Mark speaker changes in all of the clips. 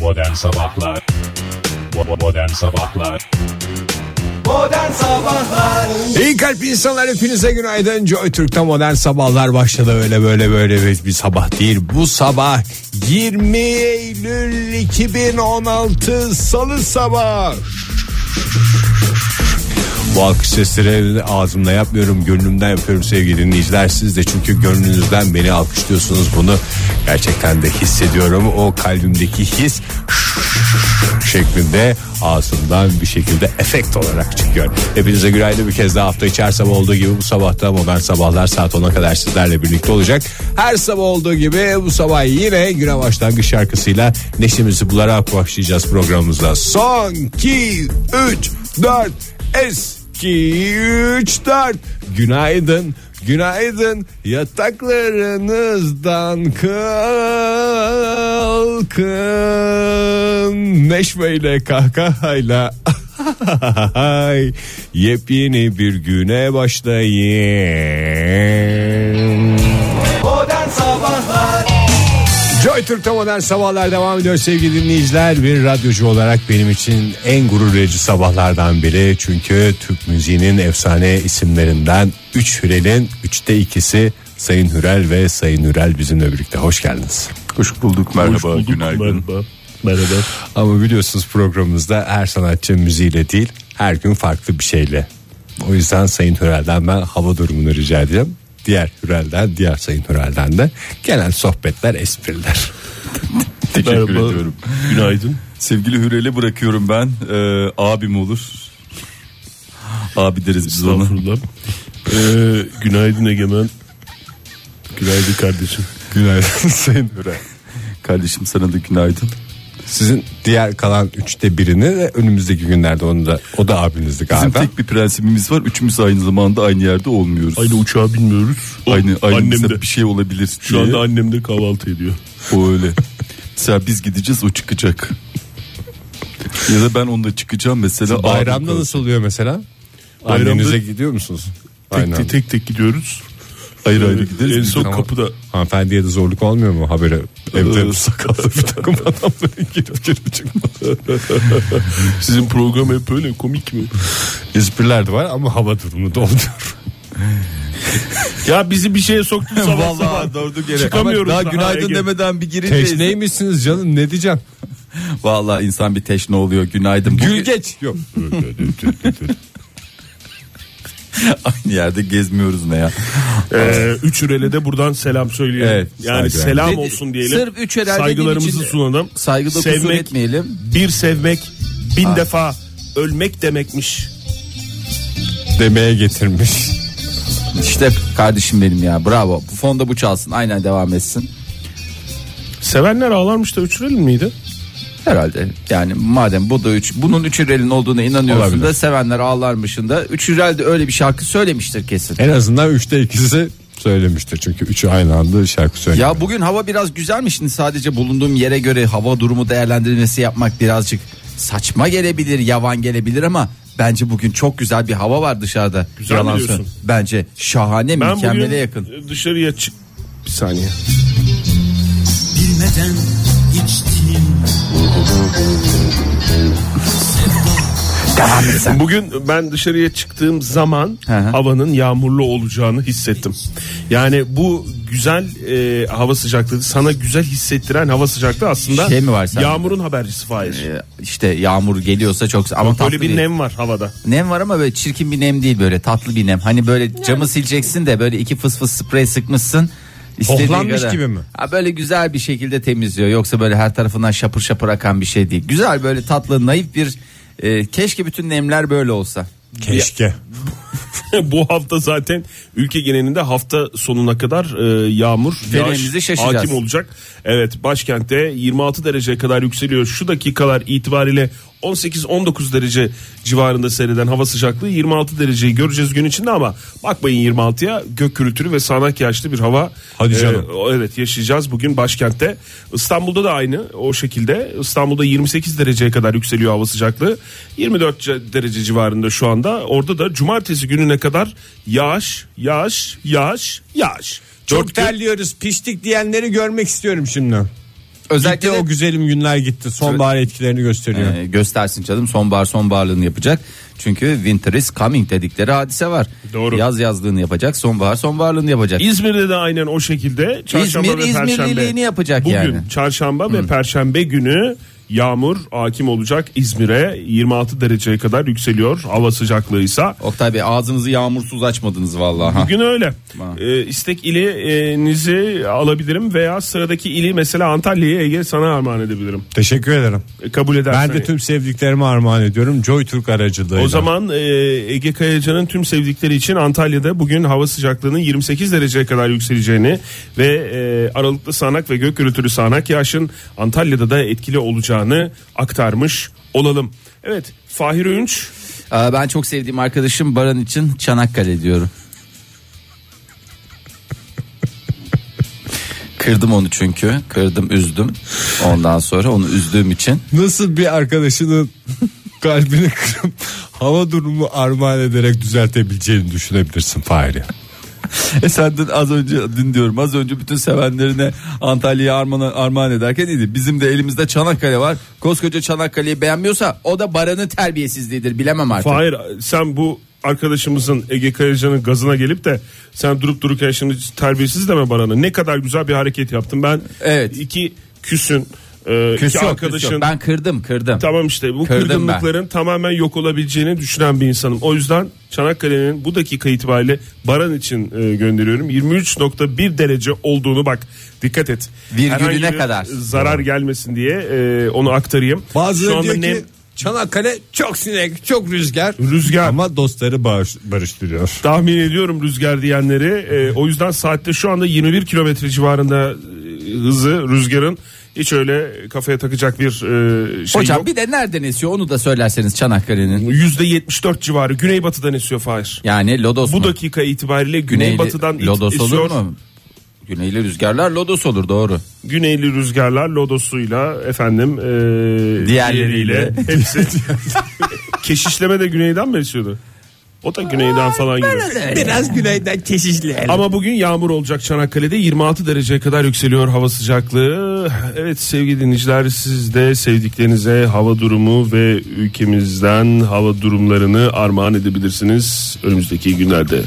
Speaker 1: Modern Sabahlar Bo- Modern Sabahlar
Speaker 2: İyi kalp insanlar hepinize günaydın. Joy Türk'te modern sabahlar başladı. Öyle böyle böyle bir, bir sabah değil. Bu sabah 20 Eylül 2016 Salı sabah. Bu alkış sesleri ağzımla yapmıyorum gönlümden yapıyorum sevgili dinleyiciler siz de çünkü gönlünüzden beni alkışlıyorsunuz bunu gerçekten de hissediyorum o kalbimdeki his şeklinde ağzımdan bir şekilde efekt olarak çıkıyor. Hepinize günaydın bir kez daha hafta içi her sabah olduğu gibi bu sabahta modern sabahlar saat 10'a kadar sizlerle birlikte olacak. Her sabah olduğu gibi bu sabah yine güne başlangıç şarkısıyla neşemizi bularak başlayacağız programımıza. Son 2, 3, 4, eski 3, 4. Günaydın. Günaydın yataklarınızdan kalkın neşveyle kahkahayla yepyeni bir güne başlayın. Joy Türk'te modern sabahlar devam ediyor sevgili dinleyiciler. Bir radyocu olarak benim için en gurur verici sabahlardan biri. Çünkü Türk müziğinin efsane isimlerinden 3 Hürel'in 3'te ikisi Sayın Hürel ve Sayın Hürel bizimle birlikte. Hoş geldiniz.
Speaker 3: Hoş bulduk merhaba günaydın.
Speaker 1: Merhaba
Speaker 2: Ama biliyorsunuz programımızda her sanatçı müziğiyle değil her gün farklı bir şeyle. O yüzden Sayın Hürel'den ben hava durumunu rica edeceğim. Diğer Hürel'den, diğer Sayın Hürel'den de gelen sohbetler, espriler.
Speaker 3: Teşekkür
Speaker 1: Merhaba.
Speaker 3: ediyorum.
Speaker 1: Günaydın
Speaker 3: Sevgili Hürel'e bırakıyorum ben. Ee, abim olur. Abi deriz biz ona.
Speaker 1: Estağfurullah Ee, Günaydın Egemen Günaydın kardeşim
Speaker 2: Günaydın Sayın Hürel.
Speaker 3: Kardeşim sana da günaydın.
Speaker 2: Sizin diğer kalan üçte birini de önümüzdeki günlerde onu da o da abinizdi
Speaker 3: Bizim
Speaker 2: galiba.
Speaker 3: tek bir prensibimiz var. Üçümüz aynı zamanda aynı yerde olmuyoruz.
Speaker 1: Aynı uçağa binmiyoruz O,
Speaker 3: Aynı, aynı
Speaker 1: Annem de
Speaker 3: mesela bir şey olabilir
Speaker 1: Şu
Speaker 3: diye.
Speaker 1: anda annem de kahvaltı ediyor
Speaker 3: O öyle. mesela biz gideceğiz o çıkacak. ya da ben onunla çıkacağım mesela. abim
Speaker 2: Bayramda
Speaker 3: kal-
Speaker 2: nasıl oluyor mesela?
Speaker 1: Bayramda-
Speaker 2: Annenize gidiyor musunuz?
Speaker 1: Tek
Speaker 2: Aynen.
Speaker 1: tek, tek, tek gidiyoruz
Speaker 3: Ayrı ayrı
Speaker 1: Ee,
Speaker 3: gideriz.
Speaker 1: En
Speaker 3: biz.
Speaker 1: son
Speaker 2: Tamam.
Speaker 1: kapıda
Speaker 2: Hanımefendiye de zorluk olmuyor mu haberi?
Speaker 3: Ee,
Speaker 2: Evde sakallı bir takım adamların girip girip çıkması.
Speaker 1: Sizin program hep öyle komik mi?
Speaker 2: Ee, Espriler de var ama hava durumu da oluyor.
Speaker 1: Ya bizi bir şeye soktun sabah sabah
Speaker 3: Vallahi doğru gerek.
Speaker 1: Çıkamıyoruz
Speaker 3: Ama daha
Speaker 1: daha
Speaker 3: günaydın
Speaker 1: Ege.
Speaker 3: demeden bir girince.
Speaker 2: Teşneymişsiniz canım ne diyeceğim?
Speaker 3: Vallahi insan bir teşne oluyor. Günaydın. Bugün-
Speaker 2: Gül geç. Yok.
Speaker 3: Aynı yerde gezmiyoruz ne ya.
Speaker 1: Ee, üç ürele de buradan selam söyleyelim.
Speaker 3: Evet,
Speaker 1: yani
Speaker 2: saygılar.
Speaker 1: selam olsun diyelim.
Speaker 3: Sırf üç ürel dediğim
Speaker 1: Saygılarımızı
Speaker 3: için de-
Speaker 1: sunalım.
Speaker 3: Saygıda kusur etmeyelim.
Speaker 1: Bir sevmek, bin defa ölmek demekmiş.
Speaker 2: Demeye getirmiş.
Speaker 3: İşte kardeşim benim ya bravo. Bu fonda bu çalsın aynen devam etsin.
Speaker 1: Sevenler ağlarmış da üç ürel miydi?
Speaker 3: Herhalde yani madem bu da üç, bunun üç ürelin olduğuna inanıyorsun
Speaker 2: Olabilir.
Speaker 3: da sevenler ağlarmışın da üç ürel de öyle bir şarkı söylemiştir kesin.
Speaker 2: En azından üçte ikisi söylemiştir. Çünkü üçü aynı anda şarkı söylüyor.
Speaker 3: Ya bugün hava biraz güzelmiş şimdi sadece bulunduğum yere göre hava durumu değerlendirmesi yapmak birazcık saçma gelebilir yavan gelebilir ama bence bugün çok güzel bir hava var dışarıda.
Speaker 1: Güzel mi diyorsun?
Speaker 3: söyle- Bence şahane
Speaker 1: Ben
Speaker 3: mükemmele
Speaker 1: bugün
Speaker 3: yakın.
Speaker 1: dışarıya çık... Bir saniye.
Speaker 4: bilmeden içtim
Speaker 3: Devam et sen.
Speaker 1: Bugün ben dışarıya çıktığım zaman
Speaker 3: Hı hı.
Speaker 1: havanın yağmurlu olacağını hissettim. Yani bu güzel e, hava sıcaklığı sana güzel hissettiren hava sıcaklığı aslında
Speaker 3: Şey mi var sende?
Speaker 1: yağmurun habercisi Fahir.
Speaker 3: Ee, işte yağmur geliyorsa çok ama tatlı
Speaker 1: Böyle bir nem var havada.
Speaker 3: Nem var ama böyle çirkin bir nem değil böyle tatlı bir nem. Hani böyle camı sileceksin de böyle iki fıs fıs sprey sıkmışsın. İstediği
Speaker 2: Hohlanmış gibi mi?
Speaker 3: Ha böyle güzel bir şekilde temizliyor. Yoksa böyle her tarafından şapır şapır akan bir şey değil. Güzel böyle tatlı naif bir e, keşke bütün nemler böyle olsa.
Speaker 2: Keşke.
Speaker 1: bu hafta zaten ülke genelinde hafta sonuna kadar e, yağmur,
Speaker 3: Deneyimizi
Speaker 1: yağış
Speaker 3: şaşacağız.
Speaker 1: hakim olacak. Evet başkentte 26 dereceye kadar yükseliyor. Şu dakikalar itibariyle 18-19 derece civarında seyreden hava sıcaklığı 26 dereceyi göreceğiz gün içinde ama bakmayın 26'ya gök gürültülü ve sağanak yağışlı bir hava.
Speaker 2: Hadi
Speaker 1: e,
Speaker 2: canım.
Speaker 1: o- evet yaşayacağız bugün başkentte. İstanbul'da da aynı o şekilde. İstanbul'da 28 dereceye kadar yükseliyor hava sıcaklığı. 24 ce- derece civarında şu anda. Orada da cumartesi gününe kadar yağış, yağış, yağış, yağış. Dört
Speaker 2: Çok
Speaker 1: gün-
Speaker 2: terliyoruz piştik diyenleri görmek istiyorum şimdi.
Speaker 3: Özellikle
Speaker 2: gitti
Speaker 3: de-
Speaker 2: o güzelim günler gitti. Sonbahar etkilerini gösteriyor.
Speaker 3: Ee, göstersin canım sonbahar sonbaharlığını yapacak. Çünkü winter is coming dedikleri hadise var.
Speaker 1: Doğru.
Speaker 3: Yaz yazlığını yapacak, sonbahar sonbaharlığını yapacak.
Speaker 1: İzmir'de de aynen o şekilde çarşamba
Speaker 3: İzmir
Speaker 1: ve
Speaker 3: İzmirliliğini
Speaker 1: perşembe.
Speaker 3: yapacak
Speaker 1: Bugün
Speaker 3: yani.
Speaker 1: çarşamba ve perşembe günü yağmur hakim olacak İzmir'e 26 dereceye kadar yükseliyor hava sıcaklığıysa.
Speaker 3: Oktay Bey ağzınızı yağmursuz açmadınız vallahi. ha.
Speaker 1: Bugün öyle.
Speaker 3: Ha.
Speaker 1: Ee, istek ilinizi alabilirim veya sıradaki ili mesela Antalya'yı Ege sana armağan edebilirim.
Speaker 2: Teşekkür ederim.
Speaker 1: E, kabul edersen.
Speaker 2: Ben de tüm sevdiklerime armağan ediyorum. Joy Türk aracılığıyla.
Speaker 1: O zaman e, Ege Kayacan'ın tüm sevdikleri için Antalya'da bugün hava sıcaklığının 28 dereceye kadar yükseleceğini ve e, aralıklı sağanak ve gök gürültülü sağanak yağışın Antalya'da da etkili olacağını aktarmış olalım. Evet Fahir Öğünç
Speaker 3: Ee, Ben çok sevdiğim arkadaşım Baran için Çanakkale diyorum. Kırdım onu çünkü. Kırdım, üzdüm. Ondan sonra onu üzdüğüm için
Speaker 2: Nasıl bir arkadaşının kalbini kırıp hava durumu armağan ederek düzeltebileceğini düşünebilirsin Fahri.
Speaker 3: E sen dün az önce dün diyorum az önce bütün sevenlerine Antalya'ya armağan, armağan ederken iyiydi. Bizim de elimizde Çanakkale var. Koskoca Çanakkale'yi beğenmiyorsa o da Baran'ın terbiyesizliğidir bilemem artık.
Speaker 1: Fahir sen bu arkadaşımızın Ege Kayacan'ın gazına gelip de sen durup dururken şimdi terbiyesiz deme bana ne kadar güzel bir hareket yaptın ben
Speaker 3: Evet.
Speaker 1: iki küsün e,
Speaker 3: Küs
Speaker 1: iki
Speaker 3: yok, küs
Speaker 1: arkadaşın
Speaker 3: yok. Ben kırdım kırdım.
Speaker 1: Tamam işte bu
Speaker 3: Kırdım
Speaker 1: kırgınlıkların tamamen yok olabileceğini düşünen bir insanım. O yüzden Çanakkale'nin bu dakika itibariyle Baran için e, gönderiyorum. 23.1 derece olduğunu bak dikkat et.
Speaker 3: Virgülüne
Speaker 1: Herhangi bir
Speaker 3: kadar.
Speaker 1: Zarar gelmesin diye e, onu aktarayım. Şu
Speaker 2: Bazıları
Speaker 1: anda
Speaker 2: diyor ki
Speaker 1: nem-
Speaker 2: Çanakkale çok sinek, çok rüzgar.
Speaker 1: Rüzgar.
Speaker 2: Ama dostları bağış- barıştırıyor.
Speaker 1: Tahmin ediyorum rüzgar diyenleri. E, o yüzden saatte şu anda 21 kilometre civarında e, hızı rüzgarın hiç öyle kafaya takacak bir e, şey
Speaker 3: Hocam
Speaker 1: yok.
Speaker 3: bir de nereden esiyor onu da söylerseniz Çanakkale'nin.
Speaker 1: %74 civarı güneybatıdan esiyor Fahir.
Speaker 3: Yani Lodos
Speaker 1: Bu
Speaker 3: mu?
Speaker 1: dakika itibariyle
Speaker 3: Güneyli-
Speaker 1: güneybatıdan it-
Speaker 3: Lodos olur
Speaker 1: esiyor.
Speaker 3: mu? Güneyli rüzgarlar Lodos olur doğru.
Speaker 1: Güneyli rüzgarlar lodosuyla efendim e,
Speaker 3: Diğerleriyle.
Speaker 1: diğerleriyle hepsi. Keşişleme de güneyden mi esiyordu? O da güneyden falan giriyor.
Speaker 2: Biraz güneyden keşişli.
Speaker 1: Ama bugün yağmur olacak Çanakkale'de 26 dereceye kadar yükseliyor hava sıcaklığı. Evet sevgili dinleyiciler siz de sevdiklerinize hava durumu ve ülkemizden hava durumlarını armağan edebilirsiniz önümüzdeki günlerde.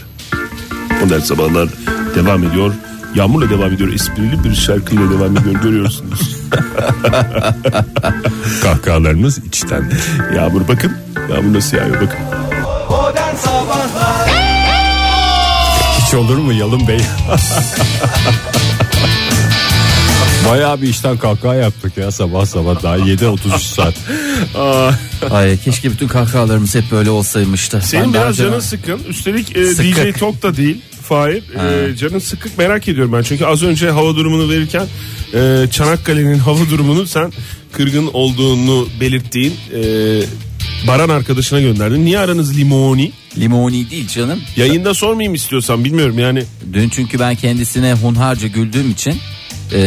Speaker 1: Modern sabahlar devam ediyor. Yağmurla devam ediyor. Esprili bir şarkıyla devam ediyor görüyorsunuz.
Speaker 2: Kahkahalarımız içten.
Speaker 1: Yağmur bakın. Yağmur nasıl yağıyor bakın.
Speaker 2: Hiç olur mu Yalın Bey? Bayağı bir işten kahkaha yaptık ya sabah sabah daha 7.33 saat.
Speaker 1: Aa,
Speaker 3: Ay keşke bütün kahkahalarımız hep böyle olsaymıştı.
Speaker 1: senin
Speaker 3: Ben daha
Speaker 1: biraz
Speaker 3: önce-
Speaker 1: canın sıkın. Üstelik e,
Speaker 3: Sıkık.
Speaker 1: DJ Talk da değil. Fahir e, canın sıkık merak ediyorum ben. Çünkü az önce hava durumunu verirken e, Çanakkale'nin hava durumunu sen kırgın olduğunu belirttiğin e, Baran arkadaşına gönderdin. Niye aranız limoni?
Speaker 3: Limoni değil canım.
Speaker 1: Yayında sormayayım istiyorsan bilmiyorum yani.
Speaker 3: Dün çünkü ben kendisine hunharca güldüğüm için eee,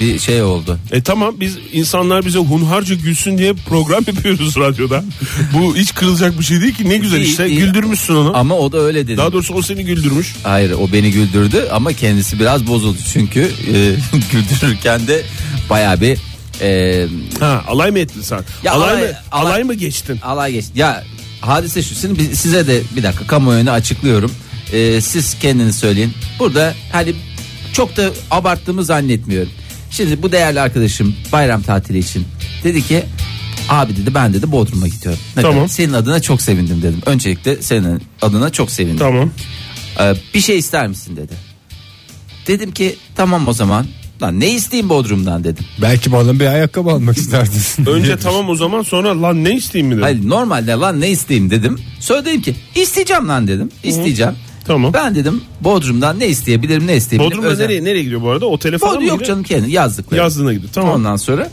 Speaker 3: bir şey oldu.
Speaker 1: E tamam biz insanlar bize hunharca gülsün diye program yapıyoruz radyoda. Bu hiç kırılacak bir şey değil ki ne güzel
Speaker 3: İyi,
Speaker 1: işte
Speaker 3: iyi.
Speaker 1: güldürmüşsün onu.
Speaker 3: Ama o da öyle dedi.
Speaker 1: Daha doğrusu o seni güldürmüş.
Speaker 3: Hayır o beni güldürdü ama kendisi biraz bozuldu çünkü eee, güldürürken de baya bir e, eee,
Speaker 1: Ha alay mı ettin sen?
Speaker 3: Ya
Speaker 1: alay,
Speaker 3: alay-
Speaker 1: mı alay, mı geçtin?
Speaker 3: alay geçti. Ya hadise şu şimdi biz- size de bir dakika kamuoyunu açıklıyorum. Eee, siz kendiniz söyleyin. Burada hani çok da abarttığımı zannetmiyorum. Şimdi bu değerli arkadaşım bayram tatili için dedi ki abi dedi ben dedi Bodrum'a gidiyorum. Ne
Speaker 1: Tamam.
Speaker 3: demek? Senin adına çok sevindim dedim. Öncelikle senin adına çok sevindim.
Speaker 1: Tamam.
Speaker 3: Ee, bir şey ister misin dedi. Dedim ki tamam o zaman. Lan ne isteyeyim Bodrum'dan dedim.
Speaker 2: Belki bana bir ayakkabı almak isterdin.
Speaker 1: Önce tamam o zaman sonra lan ne isteyeyim mi dedim.
Speaker 3: Hayır normalde lan ne isteyeyim dedim. Sonra dedim ki isteyeceğim lan dedim. İsteyeceğim.
Speaker 1: Tamam.
Speaker 3: Ben dedim Bodrum'dan ne isteyebilirim ne isteyebilirim.
Speaker 1: Bodrum'da
Speaker 3: Özel-
Speaker 1: nereye nereye gidiyor bu arada? O telefon
Speaker 3: Bodrum yok canım kendi yazdıkları.
Speaker 1: Yazdığına gidiyor. Tamam.
Speaker 3: Ondan sonra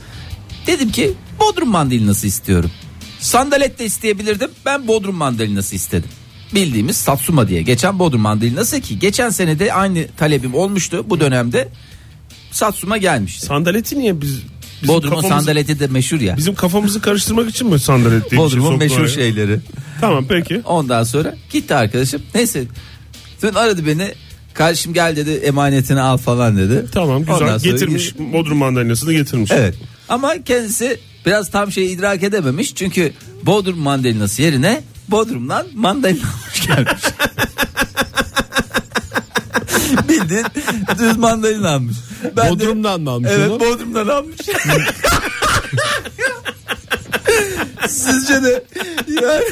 Speaker 3: dedim ki Bodrum mandalinası istiyorum. Sandalet de isteyebilirdim. Ben Bodrum mandalinası istedim. Bildiğimiz Satsuma diye geçen Bodrum mandalinası ki geçen sene de aynı talebim olmuştu. Bu dönemde Satsuma gelmişti.
Speaker 1: Sandaleti niye biz bizim
Speaker 3: Bodrum'un
Speaker 1: kafamızı-
Speaker 3: sandaleti de meşhur ya.
Speaker 1: Bizim kafamızı karıştırmak için mi sandalet diye bir şey
Speaker 3: Bodrum'un
Speaker 1: soktular
Speaker 3: meşhur
Speaker 1: ya?
Speaker 3: şeyleri.
Speaker 1: Tamam peki.
Speaker 3: Ondan sonra gitti arkadaşım. Neyse. Dün aradı beni. Kardeşim gel dedi emanetini al falan dedi.
Speaker 1: Tamam güzel
Speaker 3: Ondan sonra
Speaker 1: getirmiş.
Speaker 3: gidip-
Speaker 1: Bodrum mandalinasını getirmiş.
Speaker 3: Evet. Ama kendisi biraz tam şeyi idrak edememiş. Çünkü Bodrum mandalinası yerine Bodrum'dan mandalina almış gelmiş. Bildiğin düz mandalina almış. Ben de-
Speaker 2: Bodrum'dan mı almış
Speaker 3: Evet
Speaker 2: onu?
Speaker 3: Bodrum'dan almış. Sizce de yani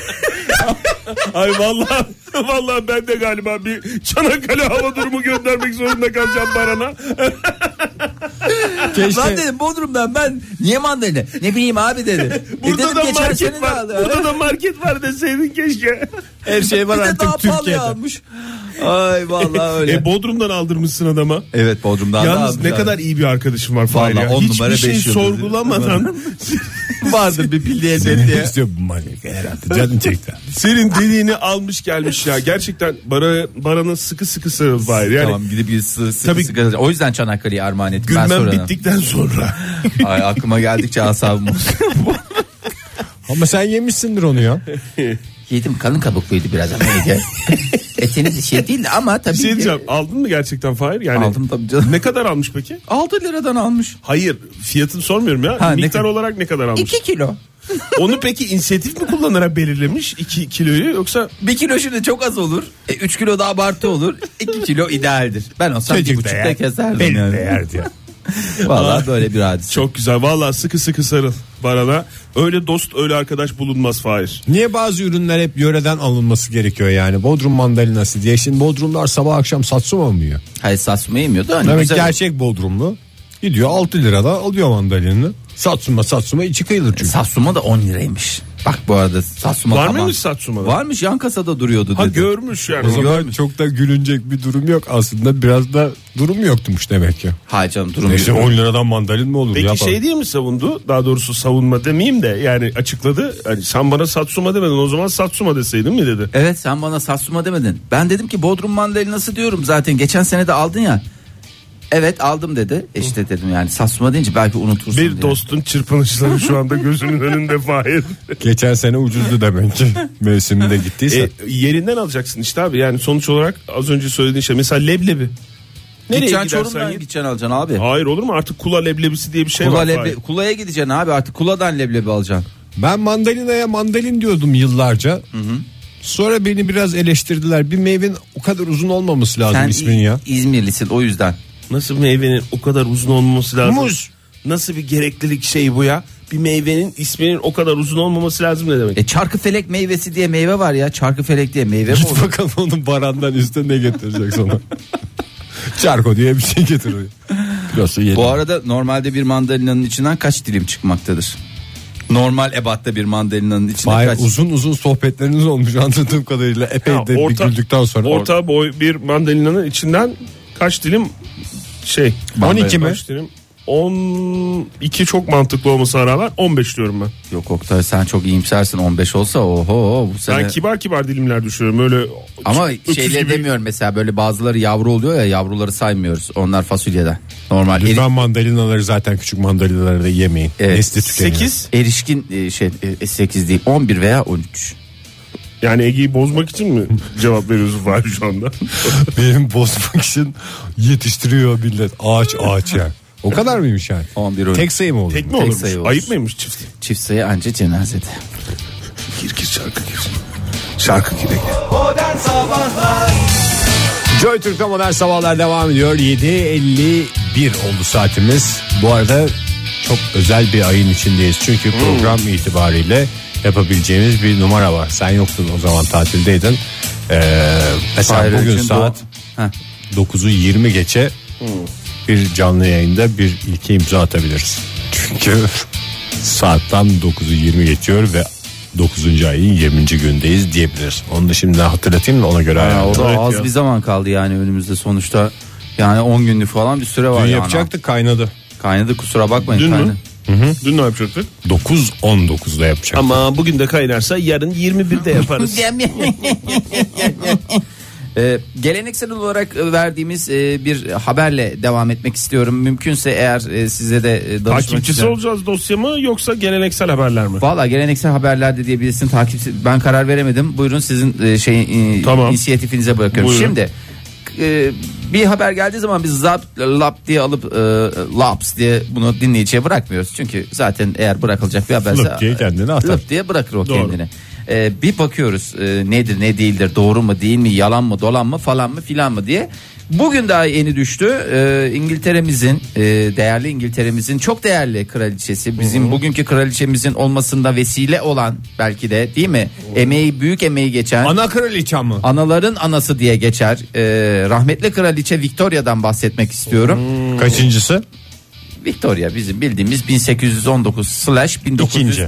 Speaker 1: Ay vallahi vallahi ben de galiba bir Çanakkale hava durumu göndermek zorunda kalacağım Baran'a.
Speaker 3: E
Speaker 2: Keşke-
Speaker 3: lan dedim Bodrum'dan ben niye mandalina? Ne bileyim abi dedi. E
Speaker 1: Burada
Speaker 3: dedim,
Speaker 1: da
Speaker 3: geçen sene
Speaker 1: market
Speaker 3: de
Speaker 1: var.
Speaker 3: aldı.
Speaker 1: Burada da market var deseydin keşke.
Speaker 2: Her şey var
Speaker 3: Bir de daha
Speaker 2: artık
Speaker 3: pahalı
Speaker 2: Türkiye'de.
Speaker 3: almış. Ay vallahi öyle.
Speaker 1: E Bodrum'dan aldırmışsın adama.
Speaker 3: Evet Bodrum'dan da
Speaker 1: Yalnız
Speaker 3: almış
Speaker 1: ne
Speaker 3: abi.
Speaker 1: kadar iyi bir arkadaşım var Fahir
Speaker 3: Vallahi
Speaker 1: ya.
Speaker 3: on numara
Speaker 1: Hiçbir şey
Speaker 3: beş yıldız.
Speaker 1: sorgulamadan
Speaker 3: vardır bir pilli elbet
Speaker 2: Ne
Speaker 3: diye.
Speaker 2: istiyor bu manyak herhalde canın çekti.
Speaker 1: senin dediğini almış gelmiş ya. Gerçekten bara, Baran'a sıkı sıkı sarıl Fahir. Yani
Speaker 3: tamam gidip bir sı- sıkı
Speaker 1: Tabii-
Speaker 3: sıkı- O yüzden Çanakkale'yi armağan ettim ben
Speaker 1: gülmem
Speaker 3: sonra.
Speaker 1: bittikten sonra.
Speaker 3: Ay aklıma geldikçe asabım bozuluyor.
Speaker 2: Ama sen yemişsindir onu ya.
Speaker 3: Yedim kalın kabukluydu biraz ama Ege. Etiniz şey değil ama tabii
Speaker 1: Bir şey
Speaker 3: ki-
Speaker 1: diyeceğim aldın mı gerçekten Fahir? Yani
Speaker 3: Aldım tabii canım.
Speaker 1: Ne kadar almış peki?
Speaker 3: 6 liradan almış.
Speaker 1: Hayır fiyatını sormuyorum ya.
Speaker 3: Ha, ne
Speaker 1: Miktar
Speaker 3: kadar?
Speaker 1: olarak ne kadar almış?
Speaker 3: 2 kilo.
Speaker 1: Onu peki inisiyatif mi kullanarak belirlemiş 2 kiloyu yoksa
Speaker 3: 1 kilo şimdi çok az olur. 3 kilo da abartı olur. 2 kilo idealdir. Ben olsam
Speaker 2: Çocuk
Speaker 3: 1,5'da
Speaker 2: değer.
Speaker 3: keserdim
Speaker 2: Benim
Speaker 3: yani.
Speaker 2: değer diyor.
Speaker 3: Vallahi böyle bir hadise.
Speaker 1: çok güzel vallahi sıkı sıkı sarıl Baran'a. Öyle dost öyle arkadaş bulunmaz Fahir.
Speaker 2: Niye bazı ürünler hep yöreden alınması gerekiyor yani? Bodrum mandalinası diye. Şimdi Bodrumlar sabah akşam satsuma mı yiyor?
Speaker 3: Hayır saçma yemiyordu. Hani
Speaker 2: Demek
Speaker 3: güzel.
Speaker 2: gerçek Bodrumlu. Gidiyor 6 lirada alıyor mandalinini. Satsuma satsuma içi kıyılır çünkü.
Speaker 3: Satsuma da 10 liraymış. Bak bu arada Satsuma
Speaker 1: Var
Speaker 3: tamam.
Speaker 1: mıymış Satsuma'da?
Speaker 3: Varmış yan kasada duruyordu
Speaker 1: Ha
Speaker 3: dedi.
Speaker 1: görmüş yani.
Speaker 2: O zaman çok da gülünecek bir durum yok aslında. Biraz da durum yokmuş demek ki.
Speaker 3: Hayır canım durum
Speaker 2: Neyse
Speaker 3: yok.
Speaker 2: 10 liradan mandalin mi olur?
Speaker 1: Peki
Speaker 2: ya?
Speaker 1: şey diye mi savundu? Daha doğrusu savunma demeyeyim de yani açıkladı. Hani sen bana Satsuma demedin o zaman Satsuma deseydin mi dedi.
Speaker 3: Evet sen bana Satsuma demedin. Ben dedim ki Bodrum mandalinası diyorum zaten geçen sene de aldın ya. Evet aldım dedi. E işte dedim yani Satsuma deyince belki unutursun
Speaker 1: Bir
Speaker 3: diye.
Speaker 1: dostun çırpınışları şu anda gözünün önünde Fahir.
Speaker 2: Geçen sene ucuzdu demek ki. Mevsiminde gittiyse.
Speaker 1: E, yerinden alacaksın işte abi yani sonuç olarak az önce söylediğin şey mesela leblebi. Nereye
Speaker 3: Gideceksin
Speaker 1: gidersen
Speaker 3: Çorum'dan
Speaker 1: git.
Speaker 3: gideceksin alacaksın abi.
Speaker 1: Hayır olur mu artık kula leblebisi diye bir şey
Speaker 3: Kula
Speaker 1: var.
Speaker 3: leblebi-
Speaker 1: Fahir.
Speaker 3: kulaya gideceksin abi artık kuladan leblebi alacaksın.
Speaker 2: Ben mandalinaya mandalin diyordum yıllarca. Sonra beni biraz eleştirdiler. Bir meyvenin o kadar uzun olmaması lazım
Speaker 3: Sen
Speaker 2: ismin ya.
Speaker 3: İ- İzmirlisin o yüzden.
Speaker 1: Nasıl bir meyvenin o kadar uzun olmaması lazım?
Speaker 2: Muz.
Speaker 1: Nasıl bir gereklilik şey bu ya? Bir meyvenin isminin o kadar uzun olmaması lazım ne demek?
Speaker 3: E çarkıfelek meyvesi diye meyve var ya. Çarkıfelek diye meyve mi
Speaker 2: Git
Speaker 3: olur?
Speaker 2: bakalım onun barandan üstüne ne getirecek sana. Çarko diye bir şey getiriyor. Kilosu yedi.
Speaker 3: Bu arada normalde bir mandalinanın içinden kaç dilim çıkmaktadır? Normal ebatta bir mandalinanın içinden
Speaker 2: Hayır,
Speaker 3: kaç?
Speaker 2: uzun uzun sohbetleriniz olmuş anladığım kadarıyla. Epey
Speaker 1: Ya
Speaker 2: de bir güldükten sonra.
Speaker 1: orta boy bir mandalinanın içinden kaç dilim şey
Speaker 2: 12 mi?
Speaker 1: kaç dilim? 12 çok mantıklı olmasına rağmen 15 diyorum ben.
Speaker 3: Yok Oktay sen çok iyimsersin 15 olsa oho bu sene.
Speaker 1: Ben kibar kibar dilimler düşüyorum öyle.
Speaker 3: Ama
Speaker 1: öküz
Speaker 3: şeyleri
Speaker 1: gibi-
Speaker 3: demiyorum mesela böyle bazıları yavru oluyor ya yavruları saymıyoruz. Onlar fasulyeden. Normal eri-
Speaker 2: Lütfen mandalinaları zaten küçük mandalinaları da yemeyin.
Speaker 3: Evet.
Speaker 2: Nesli tükeniyor.
Speaker 1: 8
Speaker 3: erişkin e, şey 8 değil 11 veya 13.
Speaker 1: yani Ege'yi bozmak için mi cevap veriyorsun Fahri şu anda?
Speaker 2: Benim bozmak için yetiştiriyor millet. Ağaç ağaç yani. O kadar mıymış yani?
Speaker 3: 11 13.
Speaker 2: Tek sayı mı olur?
Speaker 1: Tek mi
Speaker 2: bu?
Speaker 1: olurmuş?
Speaker 3: sayı olur.
Speaker 1: Ayıp mıymış çift?
Speaker 3: Çift sayı anca cenazede.
Speaker 1: Gir gir şarkı gir. Şarkı gire gir.
Speaker 2: Joy Türk'te modern sabahlar devam ediyor. 7.51 oldu saatimiz. Bu arada çok özel bir ayın içindeyiz. Çünkü
Speaker 3: Hmm.
Speaker 2: program itibariyle yapabileceğimiz bir numara var. Sen yoktun o zaman tatildeydin. Ee, mesela
Speaker 3: Hayır,
Speaker 2: bugün
Speaker 3: için Hmm. bu-
Speaker 2: saat
Speaker 3: Heh.
Speaker 2: 9'u 20 geçe bir canlı yayında bir ilke imza atabiliriz. Çünkü saatten 9'u 20 geçiyor ve 9. ayın 20. gündeyiz diyebiliriz. Onu da şimdiden hatırlatayım da ona göre
Speaker 3: Ya o
Speaker 2: ayarlayalım.
Speaker 3: da
Speaker 1: Evet
Speaker 3: az
Speaker 1: ya.
Speaker 3: bir zaman kaldı yani önümüzde sonuçta. Yani 10 günlük falan bir süre var
Speaker 2: Dün
Speaker 3: yani.
Speaker 2: yapacaktık kaynadı.
Speaker 3: Kaynadı kusura bakmayın.
Speaker 1: Dün mü?
Speaker 3: kaynadı.
Speaker 1: Dün ne yapacaktık?
Speaker 2: 9-19'da yapacak.
Speaker 1: Ama bugün de kaynarsa yarın 21'de yaparız.
Speaker 3: Ee, geleneksel olarak e, verdiğimiz e, bir haberle devam etmek istiyorum. Mümkünse eğer e, size de e, danışmak
Speaker 1: Takipçisi
Speaker 3: istiyorum.
Speaker 1: olacağız dosya mı yoksa geleneksel haberler mi?
Speaker 3: Valla geleneksel haberlerde diye birisini takipçi ben karar veremedim. Buyurun sizin e, şey e,
Speaker 1: Tamam.
Speaker 3: inisiyatifinize bırakıyorum.
Speaker 1: Buyurun.
Speaker 3: Şimdi e, bir haber geldiği zaman biz zap lap diye alıp e, laps diye bunu dinleyiciye bırakmıyoruz. Çünkü zaten eğer bırakılacak bir haberse
Speaker 2: Lıp diye kendini atar.
Speaker 3: Lıp diye bırakır o
Speaker 1: Doğru.
Speaker 3: kendini. E, bir bakıyoruz e, nedir ne değildir doğru mu değil mi yalan mı dolan mı falan mı filan mı diye. Bugün daha yeni düştü. E, İngiltere'mizin e, değerli İngiltere'mizin çok değerli kraliçesi bizim bugünkü kraliçemizin olmasında vesile olan belki de değil mi? Emeği büyük emeği geçen
Speaker 2: Ana kraliçe mi?
Speaker 3: anaların anası diye geçer. Ee, rahmetli kraliçe Victoria'dan bahsetmek istiyorum.
Speaker 2: Kaçıncısı?
Speaker 3: Victoria bizim bildiğimiz 1819 slash 1901.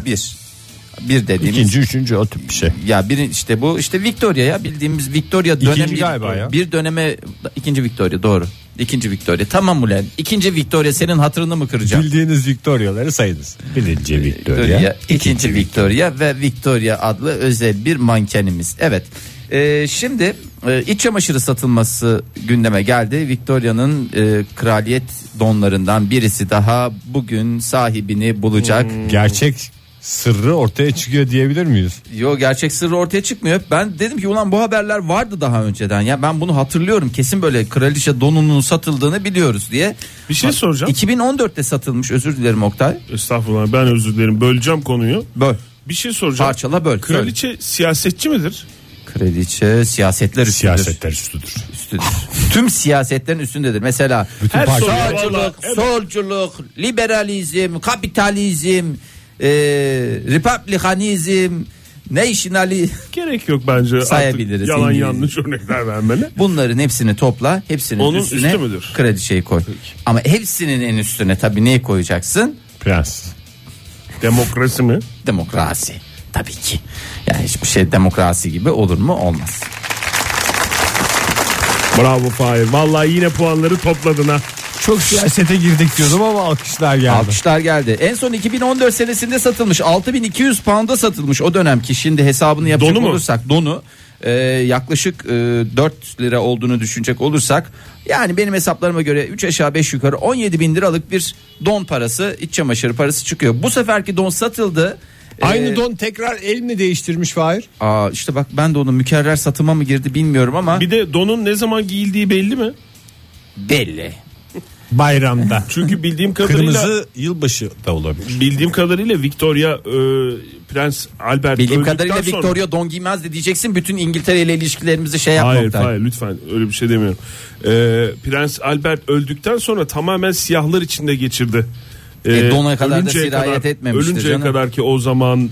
Speaker 3: Bir dediğimiz.
Speaker 2: İkinci, üçüncü o tip bir şey.
Speaker 3: Ya bir işte bu işte Victoria ya bildiğimiz Victoria
Speaker 2: İkinci
Speaker 3: dönemi.
Speaker 2: galiba ya.
Speaker 3: Bir döneme ikinci Victoria doğru. İkinci Victoria tamam ulan. İkinci Victoria senin hatırını mı kıracağım?
Speaker 2: Bildiğiniz Victoria'ları sayınız. Birinci
Speaker 3: Victoria, ikinci Victoria ve Victoria adlı özel bir mankenimiz. Evet. Ee, şimdi e, iç çamaşırı satılması gündeme geldi. Victoria'nın e, kraliyet donlarından birisi daha bugün sahibini bulacak.
Speaker 2: Hmm. Gerçek sırrı ortaya çıkıyor diyebilir miyiz?
Speaker 3: Yo gerçek sırrı ortaya çıkmıyor. Ben dedim ki ulan bu haberler vardı daha önceden. Ya ben bunu hatırlıyorum. Kesin böyle kraliçe donunun satıldığını biliyoruz diye.
Speaker 1: Bir şey soracağım.
Speaker 3: 2014'te satılmış özür dilerim Oktay.
Speaker 1: Estağfurullah ben özür dilerim böleceğim konuyu.
Speaker 3: Böl.
Speaker 1: Bir şey soracağım.
Speaker 3: Parçala böl.
Speaker 1: Kraliçe siyasetçi midir?
Speaker 3: Kraliçe siyasetler üstüdür.
Speaker 2: Siyasetler üstüdür.
Speaker 3: üstüdür. Tüm siyasetlerin üstündedir. Mesela
Speaker 1: Her
Speaker 2: parça-
Speaker 1: soruya vallahi-
Speaker 3: sağcılık,
Speaker 1: Evet.
Speaker 3: solculuk, liberalizm, kapitalizm, e, republikanizm, nationali
Speaker 1: Gerek yok bence. artık
Speaker 3: Sayabiliriz
Speaker 1: Yalan
Speaker 3: İngiliz.
Speaker 1: yanlış örnekler vermene.
Speaker 3: bunların hepsini topla, hepsinin
Speaker 1: Onun
Speaker 3: üstüne
Speaker 1: üstü müdür?
Speaker 3: kraliçeyi koy. Ama hepsinin en üstüne tabii neyi koyacaksın?
Speaker 2: Prens.
Speaker 1: Demokrasi mi?
Speaker 3: Demokrasi. Tabii ki. Yani hiçbir şey demokrasi gibi olur mu? Olmaz.
Speaker 1: Bravo Fahir. Vallahi yine puanları topladın ha.
Speaker 2: Çok siyasete girdik diyordum ama alkışlar geldi.
Speaker 3: Alkışlar geldi. En son 2014 senesinde satılmış. 6200 pound'a satılmış o dönemki. Şimdi hesabını yapacak
Speaker 1: Donu mu?
Speaker 3: olursak donu e, yaklaşık e, 4 lira olduğunu düşünecek olursak yani benim hesaplarıma göre 3 aşağı 5 yukarı 17 bin liralık bir don parası iç çamaşırı parası çıkıyor. Bu seferki don satıldı.
Speaker 2: Aynı
Speaker 3: E,
Speaker 2: don tekrar el mi değiştirmiş Fahir?
Speaker 3: Aa, işte bak ben de onun mükerrer satıma mı girdi bilmiyorum ama
Speaker 1: Bir de donun ne zaman giyildiği belli mi?
Speaker 3: belli.
Speaker 2: Bayramda.
Speaker 1: Çünkü bildiğim kadarıyla
Speaker 2: Kırmızı yılbaşı da olabilir.
Speaker 1: bildiğim kadarıyla Victoria e, Prens Albert
Speaker 3: Bildiğim
Speaker 1: öldükten
Speaker 3: kadarıyla
Speaker 1: sonra-
Speaker 3: Victoria don giymez de diyeceksin bütün İngiltere ile ilişkilerimizi şey yapma
Speaker 1: Hayır
Speaker 3: Oktay.
Speaker 1: hayır lütfen öyle bir şey demiyorum. E, Prens Albert öldükten sonra tamamen siyahlar içinde geçirdi. Ee,
Speaker 3: E, dona kadar da
Speaker 1: ölünceye
Speaker 3: sirayet etmemiştir
Speaker 1: Ölünceye
Speaker 3: canım.
Speaker 1: kadar ki o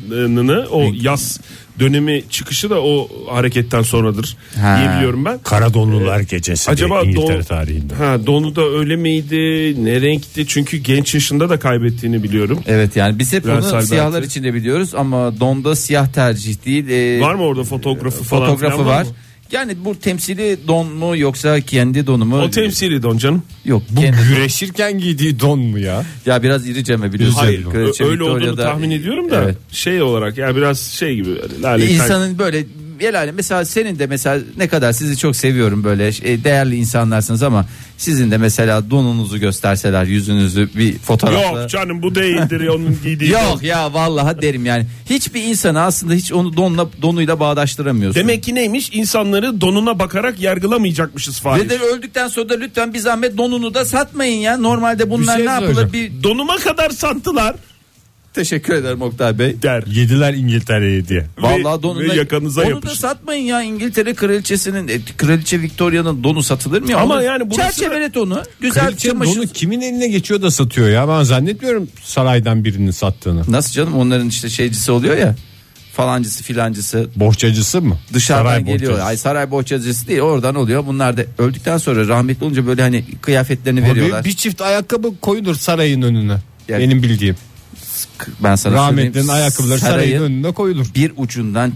Speaker 1: zamanını o yaz dönemi çıkışı da o hareketten sonradır
Speaker 3: Ha.
Speaker 1: diyebiliyorum ben.
Speaker 2: Karadonlular gecesi
Speaker 1: Acaba
Speaker 2: diye İngiltere
Speaker 1: don-
Speaker 2: tarihinde.
Speaker 1: Ha, donu da öyle miydi? Ne renkti? Çünkü genç yaşında da kaybettiğini biliyorum.
Speaker 3: Evet yani biz hep
Speaker 1: Prens
Speaker 3: onu
Speaker 1: Albert'i.
Speaker 3: siyahlar içinde biliyoruz ama donda siyah tercih değil. Ee,
Speaker 1: var mı orada fotoğrafı falan?
Speaker 3: Fotoğrafı
Speaker 1: filan
Speaker 3: var.
Speaker 1: mı?
Speaker 3: Yani bu temsili don mu yoksa kendi donu mu?
Speaker 1: O temsili don canım.
Speaker 3: Yok.
Speaker 2: Bu
Speaker 3: kendi-
Speaker 2: güreşirken giydiği don mu ya?
Speaker 3: ya biraz irice mi biliyorsun?
Speaker 1: Hayır,
Speaker 3: Kraliçe
Speaker 1: ö- öyle olduğunu
Speaker 3: Victoria'da- e,
Speaker 1: tahmin ediyorum da
Speaker 3: Evet.
Speaker 1: şey olarak ya biraz şey gibi lale
Speaker 3: İnsanın böyle el alem- mesela senin de mesela ne kadar sizi çok seviyorum böyle e, değerli insanlarsınız ama sizin de mesela donunuzu gösterseler yüzünüzü bir fotoğrafla.
Speaker 1: Yok canım bu değildir onun giydiği.
Speaker 3: Yok ya vallahi derim yani. Hiçbir insanı aslında hiç onu donla donuyla bağdaştıramıyorsun.
Speaker 1: Demek ki neymiş? İnsanları donuna bakarak yargılamayacakmışız Fahir.
Speaker 3: Ve de öldükten sonra da lütfen bir zahmet donunu da satmayın ya. Normalde bunlar
Speaker 2: şey
Speaker 3: ne yapılır?
Speaker 2: soracağım.
Speaker 3: Bir
Speaker 1: Donuma kadar sattılar
Speaker 3: teşekkür ederim Oktay Bey.
Speaker 1: der.
Speaker 2: Yediler İngiltere'yi diye.
Speaker 3: Vallahi donunu
Speaker 1: ve yakanıza
Speaker 3: onu da
Speaker 1: yapışın.
Speaker 3: satmayın ya İngiltere kraliçesinin e, kraliçe Victoria'nın donu satılır mı ya?
Speaker 1: Ama
Speaker 3: Onu-
Speaker 1: yani burası da-
Speaker 3: çerçevelet onu. Güzel
Speaker 2: Kraliçe
Speaker 3: çamaşır.
Speaker 2: donu kimin eline geçiyor da satıyor ya? Ben zannetmiyorum saraydan birinin sattığını.
Speaker 3: Nasıl canım onların işte şeycisi oluyor ya. Falancısı filancısı
Speaker 2: Borçacısı mı?
Speaker 3: dışarıdan
Speaker 2: Saray
Speaker 3: geliyor.
Speaker 2: borçacısı.
Speaker 3: Ay saray bohçacısı değil oradan oluyor. Bunlar da öldükten sonra rahmetli olunca böyle hani kıyafetlerini
Speaker 2: Abi
Speaker 3: veriyorlar.
Speaker 2: bir çift ayakkabı koyulur sarayın önüne.
Speaker 3: Yani-
Speaker 2: Benim bildiğim.
Speaker 3: Ben sana
Speaker 2: Rahmetli'nin
Speaker 3: söyleyeyim.
Speaker 2: ayakkabıları sarayın önüne koyulur.
Speaker 3: bir ucundan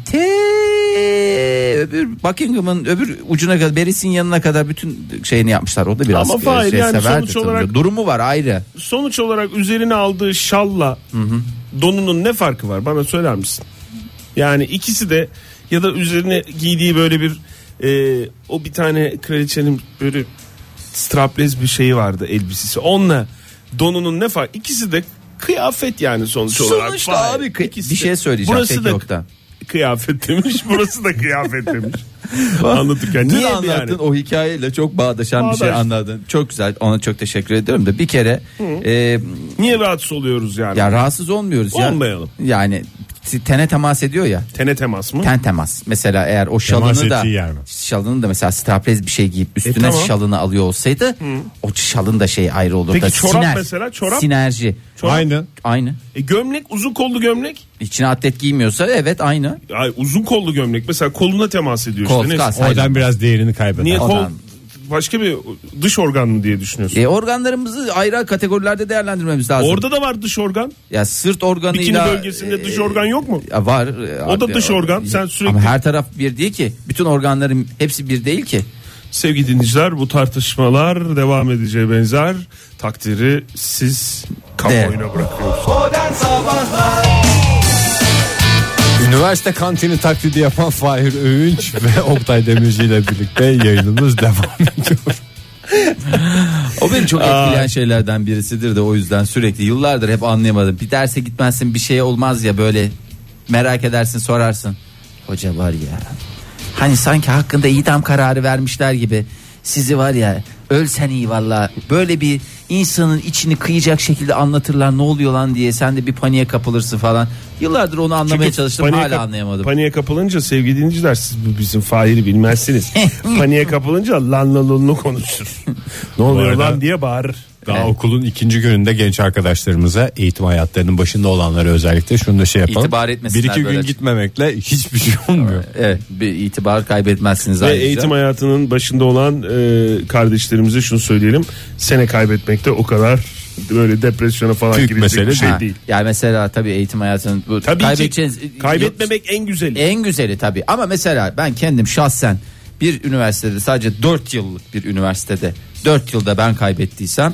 Speaker 3: te öbür Buckingham'ın öbür ucuna kadar Beris'in yanına kadar bütün şeyini yapmışlar. O da biraz
Speaker 1: Ama Fahir
Speaker 3: şey
Speaker 1: yani
Speaker 3: severdi
Speaker 1: sonuç
Speaker 3: tabii.
Speaker 1: olarak-
Speaker 3: durumu var ayrı.
Speaker 1: Sonuç olarak üzerine aldığı şalla donunun ne farkı var? Bana söyler misin? Yani ikisi de ya da üzerine giydiği böyle bir e, o bir tane kraliçenin böyle straplez bir şeyi vardı elbisesi. Onunla donunun ne farkı? İkisi de kıyafet yani sonuç olarak.
Speaker 3: Sonuçta
Speaker 1: Fahir.
Speaker 3: abi kı-
Speaker 1: İkisi
Speaker 3: bir
Speaker 1: de-
Speaker 3: şey söyleyeceğim
Speaker 1: Burası
Speaker 3: peki
Speaker 1: da
Speaker 3: Oktay.
Speaker 1: kıyafet demiş. Burası da kıyafet demiş. Anlatırken
Speaker 3: Dün
Speaker 1: niye
Speaker 3: anlattın
Speaker 1: yani?
Speaker 3: o hikayeyle çok bağdaşan bir şey
Speaker 1: E, Bağdaş.
Speaker 3: anladın. Çok güzel. Ona çok teşekkür ediyorum da bir kere e,
Speaker 1: Niye rahatsız oluyoruz yani?
Speaker 3: ya rahatsız olmuyoruz ya.
Speaker 1: Olmayalım.
Speaker 3: Yani tene temas ediyor ya.
Speaker 1: Tene temas mı?
Speaker 3: Ten temas. Mesela eğer o
Speaker 2: Temas
Speaker 3: şalını da
Speaker 2: ettiği yer mi?
Speaker 3: şalını da mesela straplez bir şey giyip üstüne
Speaker 1: E, tamam.
Speaker 3: şalını alıyor olsaydı o şalın da şey ayrı olurdu.
Speaker 1: Peki çorap mesela, çorap?
Speaker 3: Sinerji.
Speaker 1: Çorap-
Speaker 2: Aynen.
Speaker 3: Aynı.
Speaker 1: E, gömlek uzun kollu gömlek.
Speaker 3: İçine atlet giymiyorsa evet aynı.
Speaker 1: Ay, uzun kollu gömlek mesela koluna temas ediyor
Speaker 3: Kol,
Speaker 1: işte. Neyse.
Speaker 3: kas.
Speaker 2: Oradan biraz değerini kaybeder.
Speaker 1: Niye kol
Speaker 3: Oradan.
Speaker 1: başka bir dış organ mı diye düşünüyorsun?
Speaker 3: E, organlarımızı ayrı kategorilerde değerlendirmemiz lazım.
Speaker 1: Orada da var dış organ.
Speaker 3: ya sırt organıyla
Speaker 1: Bikini bölgesinde dış organ yok mu?
Speaker 3: Ya var. E,
Speaker 1: O da dış organ. Sen sürekli-
Speaker 3: Ama her taraf bir değil ki. Bütün organların hepsi bir değil ki.
Speaker 1: Sevgili dinleyiciler bu tartışmalar devam edeceği benzer takdiri siz kamuoyuna bırakıyoruz.
Speaker 2: Üniversite kantini taklidi yapan Fahir Öğünç ve Oktay Demirci ile birlikte yayınımız devam ediyor.
Speaker 3: O beni çok etkileyen şeylerden birisidir de o yüzden sürekli yıllardır hep anlayamadım. Bir derse gitmezsin bir şey olmaz ya böyle merak edersin sorarsın. Hoca var ya hani sanki hakkında idam kararı vermişler gibi sizi var ya ölsen iyi valla böyle bir insanın içini kıyacak şekilde anlatırlar ne oluyor lan diye sen de bir paniğe kapılırsın falan. Yıllardır onu anlamaya
Speaker 1: Çünkü
Speaker 3: çalıştım
Speaker 1: paniğe
Speaker 3: hala
Speaker 1: kap-
Speaker 3: anlayamadım.
Speaker 1: Paniğe kapılınca sevgili dinleyiciler siz bu bizim Fahir'i bilmezsiniz. paniğe kapılınca lan lan lanlı konuşur. ne oluyor
Speaker 2: arada-
Speaker 1: lan diye bağırır.
Speaker 2: Daha okulun ikinci gününde genç arkadaşlarımıza eğitim hayatlarının başında olanlara özellikle şunu da şey yapalım.
Speaker 3: İtibar etmesinler
Speaker 2: Bir iki gün
Speaker 3: böyle.
Speaker 2: gitmemekle hiçbir şey olmuyor.
Speaker 3: Evet bir itibar kaybetmezsiniz
Speaker 1: Ve
Speaker 3: ayrıca.
Speaker 1: eğitim hayatının başında olan e, kardeşlerimize şunu söyleyelim. Sene kaybetmekte o kadar böyle depresyona falan
Speaker 2: Büyük
Speaker 1: girecek
Speaker 2: mesele
Speaker 1: bir şey
Speaker 3: Ha,
Speaker 1: değil.
Speaker 3: Yani mesela tabii eğitim hayatının bu
Speaker 1: Tabii
Speaker 3: kaybedeceğiniz E-
Speaker 1: ki kaybetmemek en güzeli.
Speaker 3: en güzeli tabii. Ama mesela ben kendim şahsen bir üniversitede sadece 4 yıllık bir üniversitede 4 yılda ben kaybettiysem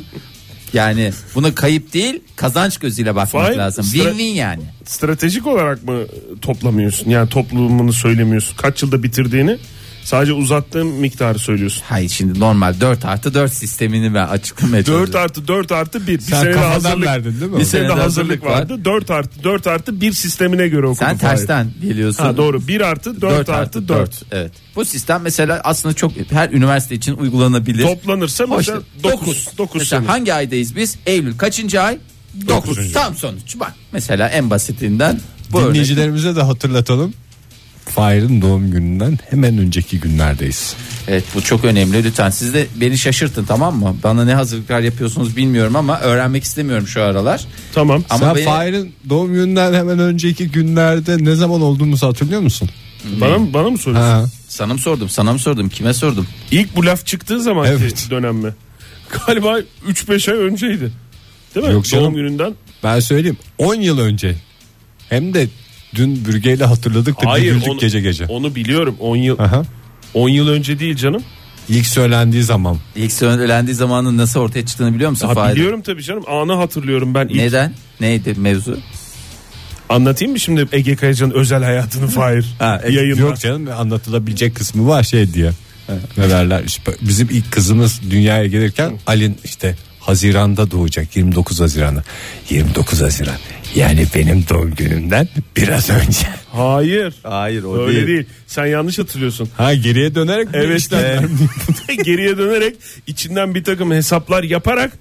Speaker 3: yani buna kayıp değil kazanç gözüyle bakmak
Speaker 1: Fahir,
Speaker 3: lazım.
Speaker 1: stra-
Speaker 3: Win-win yani.
Speaker 1: Stratejik olarak mı toplamıyorsun? Yani toplumunu söylemiyorsun. Kaç yılda bitirdiğini sadece uzattığın miktarı söylüyorsun.
Speaker 3: Hayır şimdi normal 4 artı 4 sistemini ben açıklamaya
Speaker 1: 4
Speaker 3: çalışıyorum.
Speaker 1: artı 4 artı 1. Bir
Speaker 2: Sen
Speaker 1: sene de
Speaker 2: kafadan
Speaker 1: hazırlık,
Speaker 2: verdin değil mi?
Speaker 1: Bir
Speaker 2: Bir
Speaker 1: sene de
Speaker 3: sene de
Speaker 1: hazırlık
Speaker 3: hazırlık var.
Speaker 1: vardı. 4 artı 4 artı 1 sistemine göre okudum.
Speaker 3: Sen
Speaker 1: Fahir.
Speaker 3: tersten geliyorsun.
Speaker 1: Ha doğru. 1 artı 4,
Speaker 3: Dört
Speaker 1: artı 4.
Speaker 3: Evet. Bu sistem mesela aslında çok her üniversite için uygulanabilir.
Speaker 1: Toplanırsa
Speaker 3: Hoş
Speaker 1: mesela
Speaker 3: değil.
Speaker 1: 9. 9
Speaker 3: Mesela
Speaker 1: sene.
Speaker 3: hangi aydayız biz? Eylül kaçıncı ay? 9. Tam sonuç. Bak mesela en basitinden bu örnek.
Speaker 2: Dinleyicilerimize de hatırlatalım. Fahir'in doğum gününden hemen önceki günlerdeyiz.
Speaker 3: Evet bu çok önemli. Lütfen siz de beni şaşırtın tamam mı? Bana ne hazırlıklar yapıyorsunuz bilmiyorum ama öğrenmek istemiyorum şu aralar.
Speaker 1: Tamam.
Speaker 3: Ama
Speaker 2: Sen
Speaker 3: beni-
Speaker 2: Fahir'in doğum gününden hemen önceki günlerde ne zaman olduğumuzu hatırlıyor musun?
Speaker 1: Bana mı, bana mı soruyorsun?
Speaker 2: Ha.
Speaker 3: Sana mı sordum? Sana mı sordum? Kime sordum?
Speaker 1: İlk bu laf çıktığı zaman
Speaker 2: Evet.
Speaker 1: dönem mi? Galiba 3-5 ay önceydi. Değil
Speaker 2: Yok
Speaker 1: mi? Doğum
Speaker 2: canım.
Speaker 1: gününden.
Speaker 2: Ben söyleyeyim 10 yıl önce hem de dün bürgeyle hatırladık da bir güldük
Speaker 1: onu,
Speaker 2: gece gece.
Speaker 1: Onu biliyorum. 10 yıl
Speaker 2: Aha.
Speaker 1: 10 yıl önce değil canım.
Speaker 2: İlk söylendiği zaman
Speaker 3: İlk söylendiği zamanın nasıl ortaya çıktığını biliyor musun?
Speaker 1: Ha,
Speaker 3: Fahir?
Speaker 1: biliyorum tabii canım. Anı hatırlıyorum ben. İlk.
Speaker 3: Neden? Neydi mevzu?
Speaker 1: Anlatayım mı şimdi Ege Kayacan'ın özel hayatını Fahir?
Speaker 3: Ha, Ege-
Speaker 1: Yayında.
Speaker 2: Yok canım anlatılabilecek kısmı var şey diye. Ne derler işte bizim ilk kızımız dünyaya gelirken Alin işte Haziran'da doğacak 29 Haziran'da. 29 Haziran yani benim doğum günümden biraz önce.
Speaker 1: Hayır.
Speaker 3: Hayır o
Speaker 1: Öyle değil. Sen yanlış hatırlıyorsun.
Speaker 2: Ha geriye dönerek bu
Speaker 1: Evet.
Speaker 2: işler-
Speaker 1: Geriye dönerek içinden bir takım hesaplar yaparak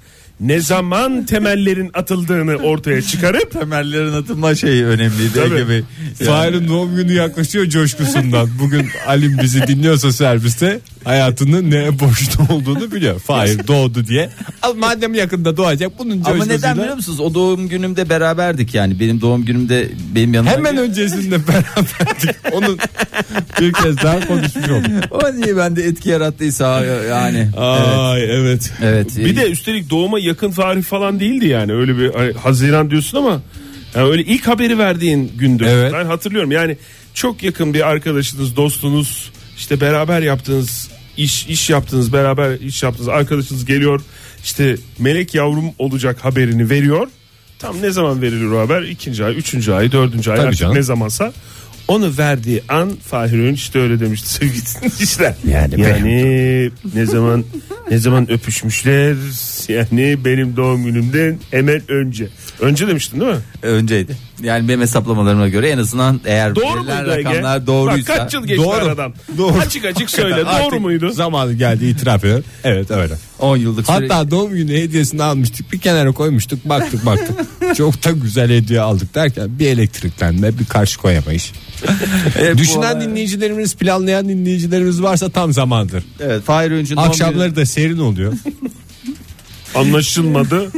Speaker 1: ne zaman temellerin atıldığını ortaya çıkarıp
Speaker 3: Temellerin atılma şeyi önemliydi
Speaker 1: Tabii.
Speaker 3: Ege Bey.
Speaker 2: Fahir'in doğum günü yaklaşıyor coşkusundan. Bugün Alim bizi dinliyorsa serviste hayatının ne boşta olduğunu biliyor. Fahir doğdu diye. Al madem yakında doğacak bunun
Speaker 3: Ama
Speaker 2: coşkusuyla
Speaker 3: neden biliyor musunuz? O doğum günümde beraberdik yani. Benim doğum günümde benim yanımda.
Speaker 2: hemen öncesinde beraberdik. Onun bir kez daha konuşmuş olduk.
Speaker 3: O niye bende etki yarattıysa yani.
Speaker 2: Ay evet.
Speaker 3: Evet.
Speaker 1: bir de üstelik doğuma yakın tarih falan değildi yani. Öyle bir hani Haziran diyorsun ama yani öyle ilk haberi verdiğin gündü.
Speaker 2: Evet.
Speaker 1: Ben hatırlıyorum. Yani çok yakın bir arkadaşınız, dostunuz, işte beraber yaptığınız iş iş yaptığınız, beraber iş yaptığınız arkadaşınız geliyor. işte melek yavrum olacak haberini veriyor. Tam ne zaman verilir o haber? İkinci ay, üçüncü ay, dördüncü ay
Speaker 2: Tabii
Speaker 1: artık
Speaker 2: canım.
Speaker 1: ne zamansa. Onu verdiği an Fahir Öğünç işte öyle demişti sevgili dinleyiciler.
Speaker 2: Yani
Speaker 1: Yani ne zaman ne zaman öpüşmüşler yani benim doğum günümden hemen önce. Önce demiştin değil mi?
Speaker 3: e, Önceydi. Yani benim hesaplamalarıma göre en azından eğer
Speaker 1: Doğru
Speaker 3: verilen
Speaker 1: muydu Ege?
Speaker 3: rakamlar doğruysa
Speaker 1: Bak kaç yıl geçti
Speaker 2: Doğru.
Speaker 1: aradan.
Speaker 2: Doğru.
Speaker 1: Açık açık söyle doğru
Speaker 2: Artık
Speaker 1: muydu?
Speaker 2: Zamanı geldi itiraf ediyorum. Evet öyle.
Speaker 3: 10 yıllık süre-
Speaker 2: Hatta doğum günü hediyesini almıştık bir kenara koymuştuk baktık baktık. Çok da güzel hediye aldık derken bir elektriklenme bir karşı koyamayış.
Speaker 3: Evet, bu
Speaker 2: Düşünen
Speaker 3: olay-
Speaker 2: dinleyicilerimiz planlayan dinleyicilerimiz varsa tam zamandır.
Speaker 3: Evet, Fahir Öğüncü'nün doğum
Speaker 2: Akşamları da serin oluyor.
Speaker 1: Anlaşılmadı.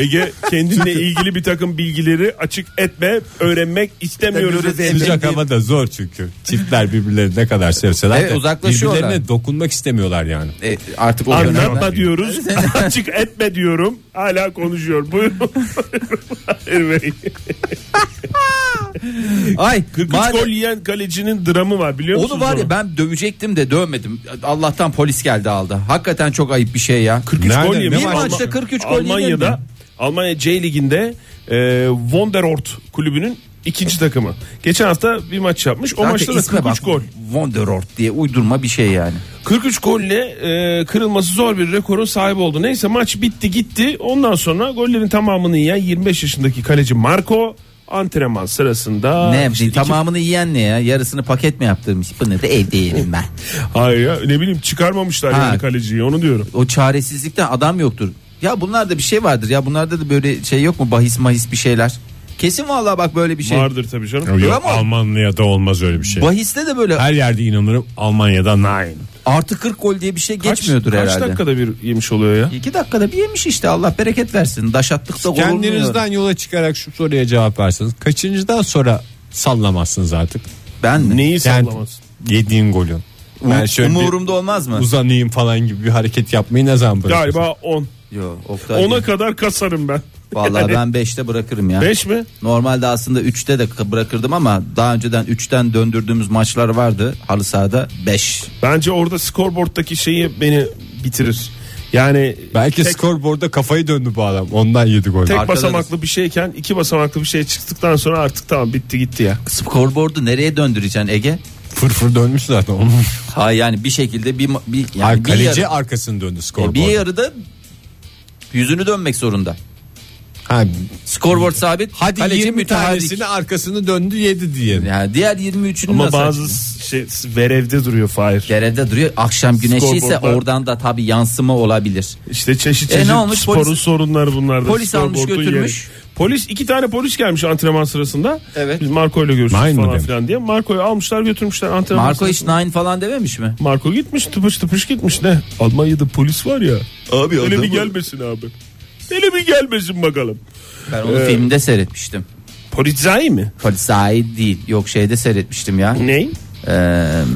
Speaker 1: Ege kendinle ilgili bir takım bilgileri açık etme, öğrenmek istemiyoruz.
Speaker 3: Tabii, evet.
Speaker 2: Sıcak hava da zor çünkü. Çiftler birbirlerini ne kadar sevseler
Speaker 3: Evet,
Speaker 2: de
Speaker 3: uzaklaşıyorlar.
Speaker 2: birbirlerine dokunmak istemiyorlar yani.
Speaker 3: günü- E, artık o dönemler-
Speaker 1: Anlatma diyoruz. açık etme diyorum. Hala konuşuyor. Buyurun. Hayır Bey.
Speaker 3: Ay
Speaker 1: 43
Speaker 3: madem-
Speaker 1: gol yiyen kalecinin dramı var biliyor musunuz?
Speaker 3: Onu var ya ben dövecektim de dövmedim. Allah'tan polis geldi aldı. Hakikaten çok ayıp bir şey ya.
Speaker 1: 43
Speaker 2: Nerede?
Speaker 1: gol
Speaker 2: Ne
Speaker 1: yemiş.
Speaker 2: maçta
Speaker 1: Alman-
Speaker 3: 43 gol yenildi mi?
Speaker 1: Almanya'da Almanya C liginde e, Vonderort kulübünün ikinci takımı. Geçen hafta bir maç yapmış. O
Speaker 3: Zaten
Speaker 1: maçta da
Speaker 3: isme
Speaker 1: 43
Speaker 3: bak.
Speaker 1: gol.
Speaker 3: Wonderort diye uydurma bir şey yani.
Speaker 1: 43 golle e, kırılması zor bir rekorun sahibi oldu. Neyse maç bitti gitti. Ondan sonra gollerin tamamını yiyen 25 yaşındaki kaleci Marco antrenman sırasında
Speaker 3: ne
Speaker 1: İşte iki-
Speaker 3: tamamını yiyen ne ya? Yarısını paket mi yaptırmış? Bunu da evde yerim ben.
Speaker 1: Hayır ya ne bileyim çıkarmamışlar
Speaker 3: Ha.
Speaker 1: yani kaleciyi onu diyorum.
Speaker 3: O çaresizlikten adam yoktur. Ya bunlarda bir şey vardır ya. Bunlarda da böyle şey yok mu? Bahis mahis bir şeyler. Kesin vallahi bak böyle bir şey.
Speaker 1: Vardır tabii canım.
Speaker 2: Yok,
Speaker 3: Ama-
Speaker 2: Almanya'da olmaz öyle bir şey.
Speaker 3: Bahiste de böyle
Speaker 2: Her yerde inanırım Almanya'da nine.
Speaker 3: artı 40 gol diye bir şey
Speaker 1: Kaç-
Speaker 3: geçmiyordur
Speaker 1: kaç,
Speaker 3: herhalde.
Speaker 1: dakikada bir yemiş oluyor ya?
Speaker 3: İki dakikada bir yemiş işte Allah bereket versin. Daşattıkta gol olmuyor.
Speaker 2: Kendinizden yola çıkarak şu soruya cevap verseniz. Kaçıncıdan sonra sallamazsınız artık?
Speaker 3: Ben mi?
Speaker 1: Neyi
Speaker 2: Yani
Speaker 1: sallamaz?
Speaker 2: yediğin golün.
Speaker 3: Um-
Speaker 2: Ben şöyle bir
Speaker 3: umurumda olmaz mı?
Speaker 2: uzanayım falan gibi bir hareket yapmayı ne zaman bırakırsınız?
Speaker 1: Galiba 10.
Speaker 3: Yok. Oktay
Speaker 1: Ona
Speaker 3: değil.
Speaker 1: kadar kasarım ben.
Speaker 3: Vallahi ben 5'te bırakırım ya.
Speaker 1: 5 mi?
Speaker 3: Normalde aslında 3'te de k- bırakırdım ama daha önceden 3'ten döndürdüğümüz maçlar vardı. Halı sahada 5.
Speaker 1: Bence orada skorboarddaki şeyi beni bitirir. Yani
Speaker 2: Belki
Speaker 1: tek,
Speaker 2: skorboarda kafayı döndü bu adam. Ondan yedi gol.
Speaker 1: tek
Speaker 3: Arkada-
Speaker 1: basamaklı bir şeyken iki basamaklı bir şey çıktıktan sonra artık tamam bitti gitti ya.
Speaker 3: Skorboardu nereye döndüreceksin Ege?
Speaker 2: Fırfır dönmüş zaten. Onun.
Speaker 3: Ha yani bir şekilde bir ma- bir yani
Speaker 2: Hayır,
Speaker 3: bir
Speaker 2: kaleci
Speaker 3: yarı,
Speaker 2: arkasını döndü
Speaker 3: e,
Speaker 2: skorboarda.
Speaker 3: bir yarıda yüzünü dönmek zorunda.
Speaker 2: Ha,
Speaker 3: Scoreboard sabit.
Speaker 2: hadi
Speaker 3: kaleci
Speaker 2: 20
Speaker 3: müteharrik.
Speaker 2: tanesini arkasını döndü yedi diye.
Speaker 3: yani diğer 23'ünü
Speaker 1: Ama
Speaker 3: nasıl
Speaker 1: bazı şey verevde duruyor Fahir.
Speaker 3: Derede duruyor. Akşam güneşi ise
Speaker 1: Scoreboard'da-
Speaker 3: oradan da tabii yansıma olabilir.
Speaker 1: İşte çeşit
Speaker 3: E,
Speaker 1: çeşit
Speaker 3: ne olmuş?
Speaker 1: sporun
Speaker 3: Polis-
Speaker 1: sorunları bunlar da.
Speaker 3: Polis almış
Speaker 1: Scoreboard'un
Speaker 3: götürmüş.
Speaker 1: yeri. Polis iki tane polis gelmiş antrenman sırasında.
Speaker 3: Evet.
Speaker 1: Biz Marco ile görüştük
Speaker 2: Aynı
Speaker 1: falan
Speaker 2: demek.
Speaker 1: filan diye. Marco'yu almışlar götürmüşler antrenman
Speaker 3: Marco hiç
Speaker 1: sırasında.
Speaker 3: nine falan dememiş mi?
Speaker 1: Marco gitmiş tıpış tıpış gitmiş ne? Almanya'da polis var ya.
Speaker 3: Abi
Speaker 1: Öyle bir gelmesin abi. Öyle bir gelmesin bakalım.
Speaker 3: Ben onu filmde seyretmiştim.
Speaker 1: Polizai mi?
Speaker 3: Polizai değil. Yok şeyde seyretmiştim ya.
Speaker 1: Ney?
Speaker 3: Ee,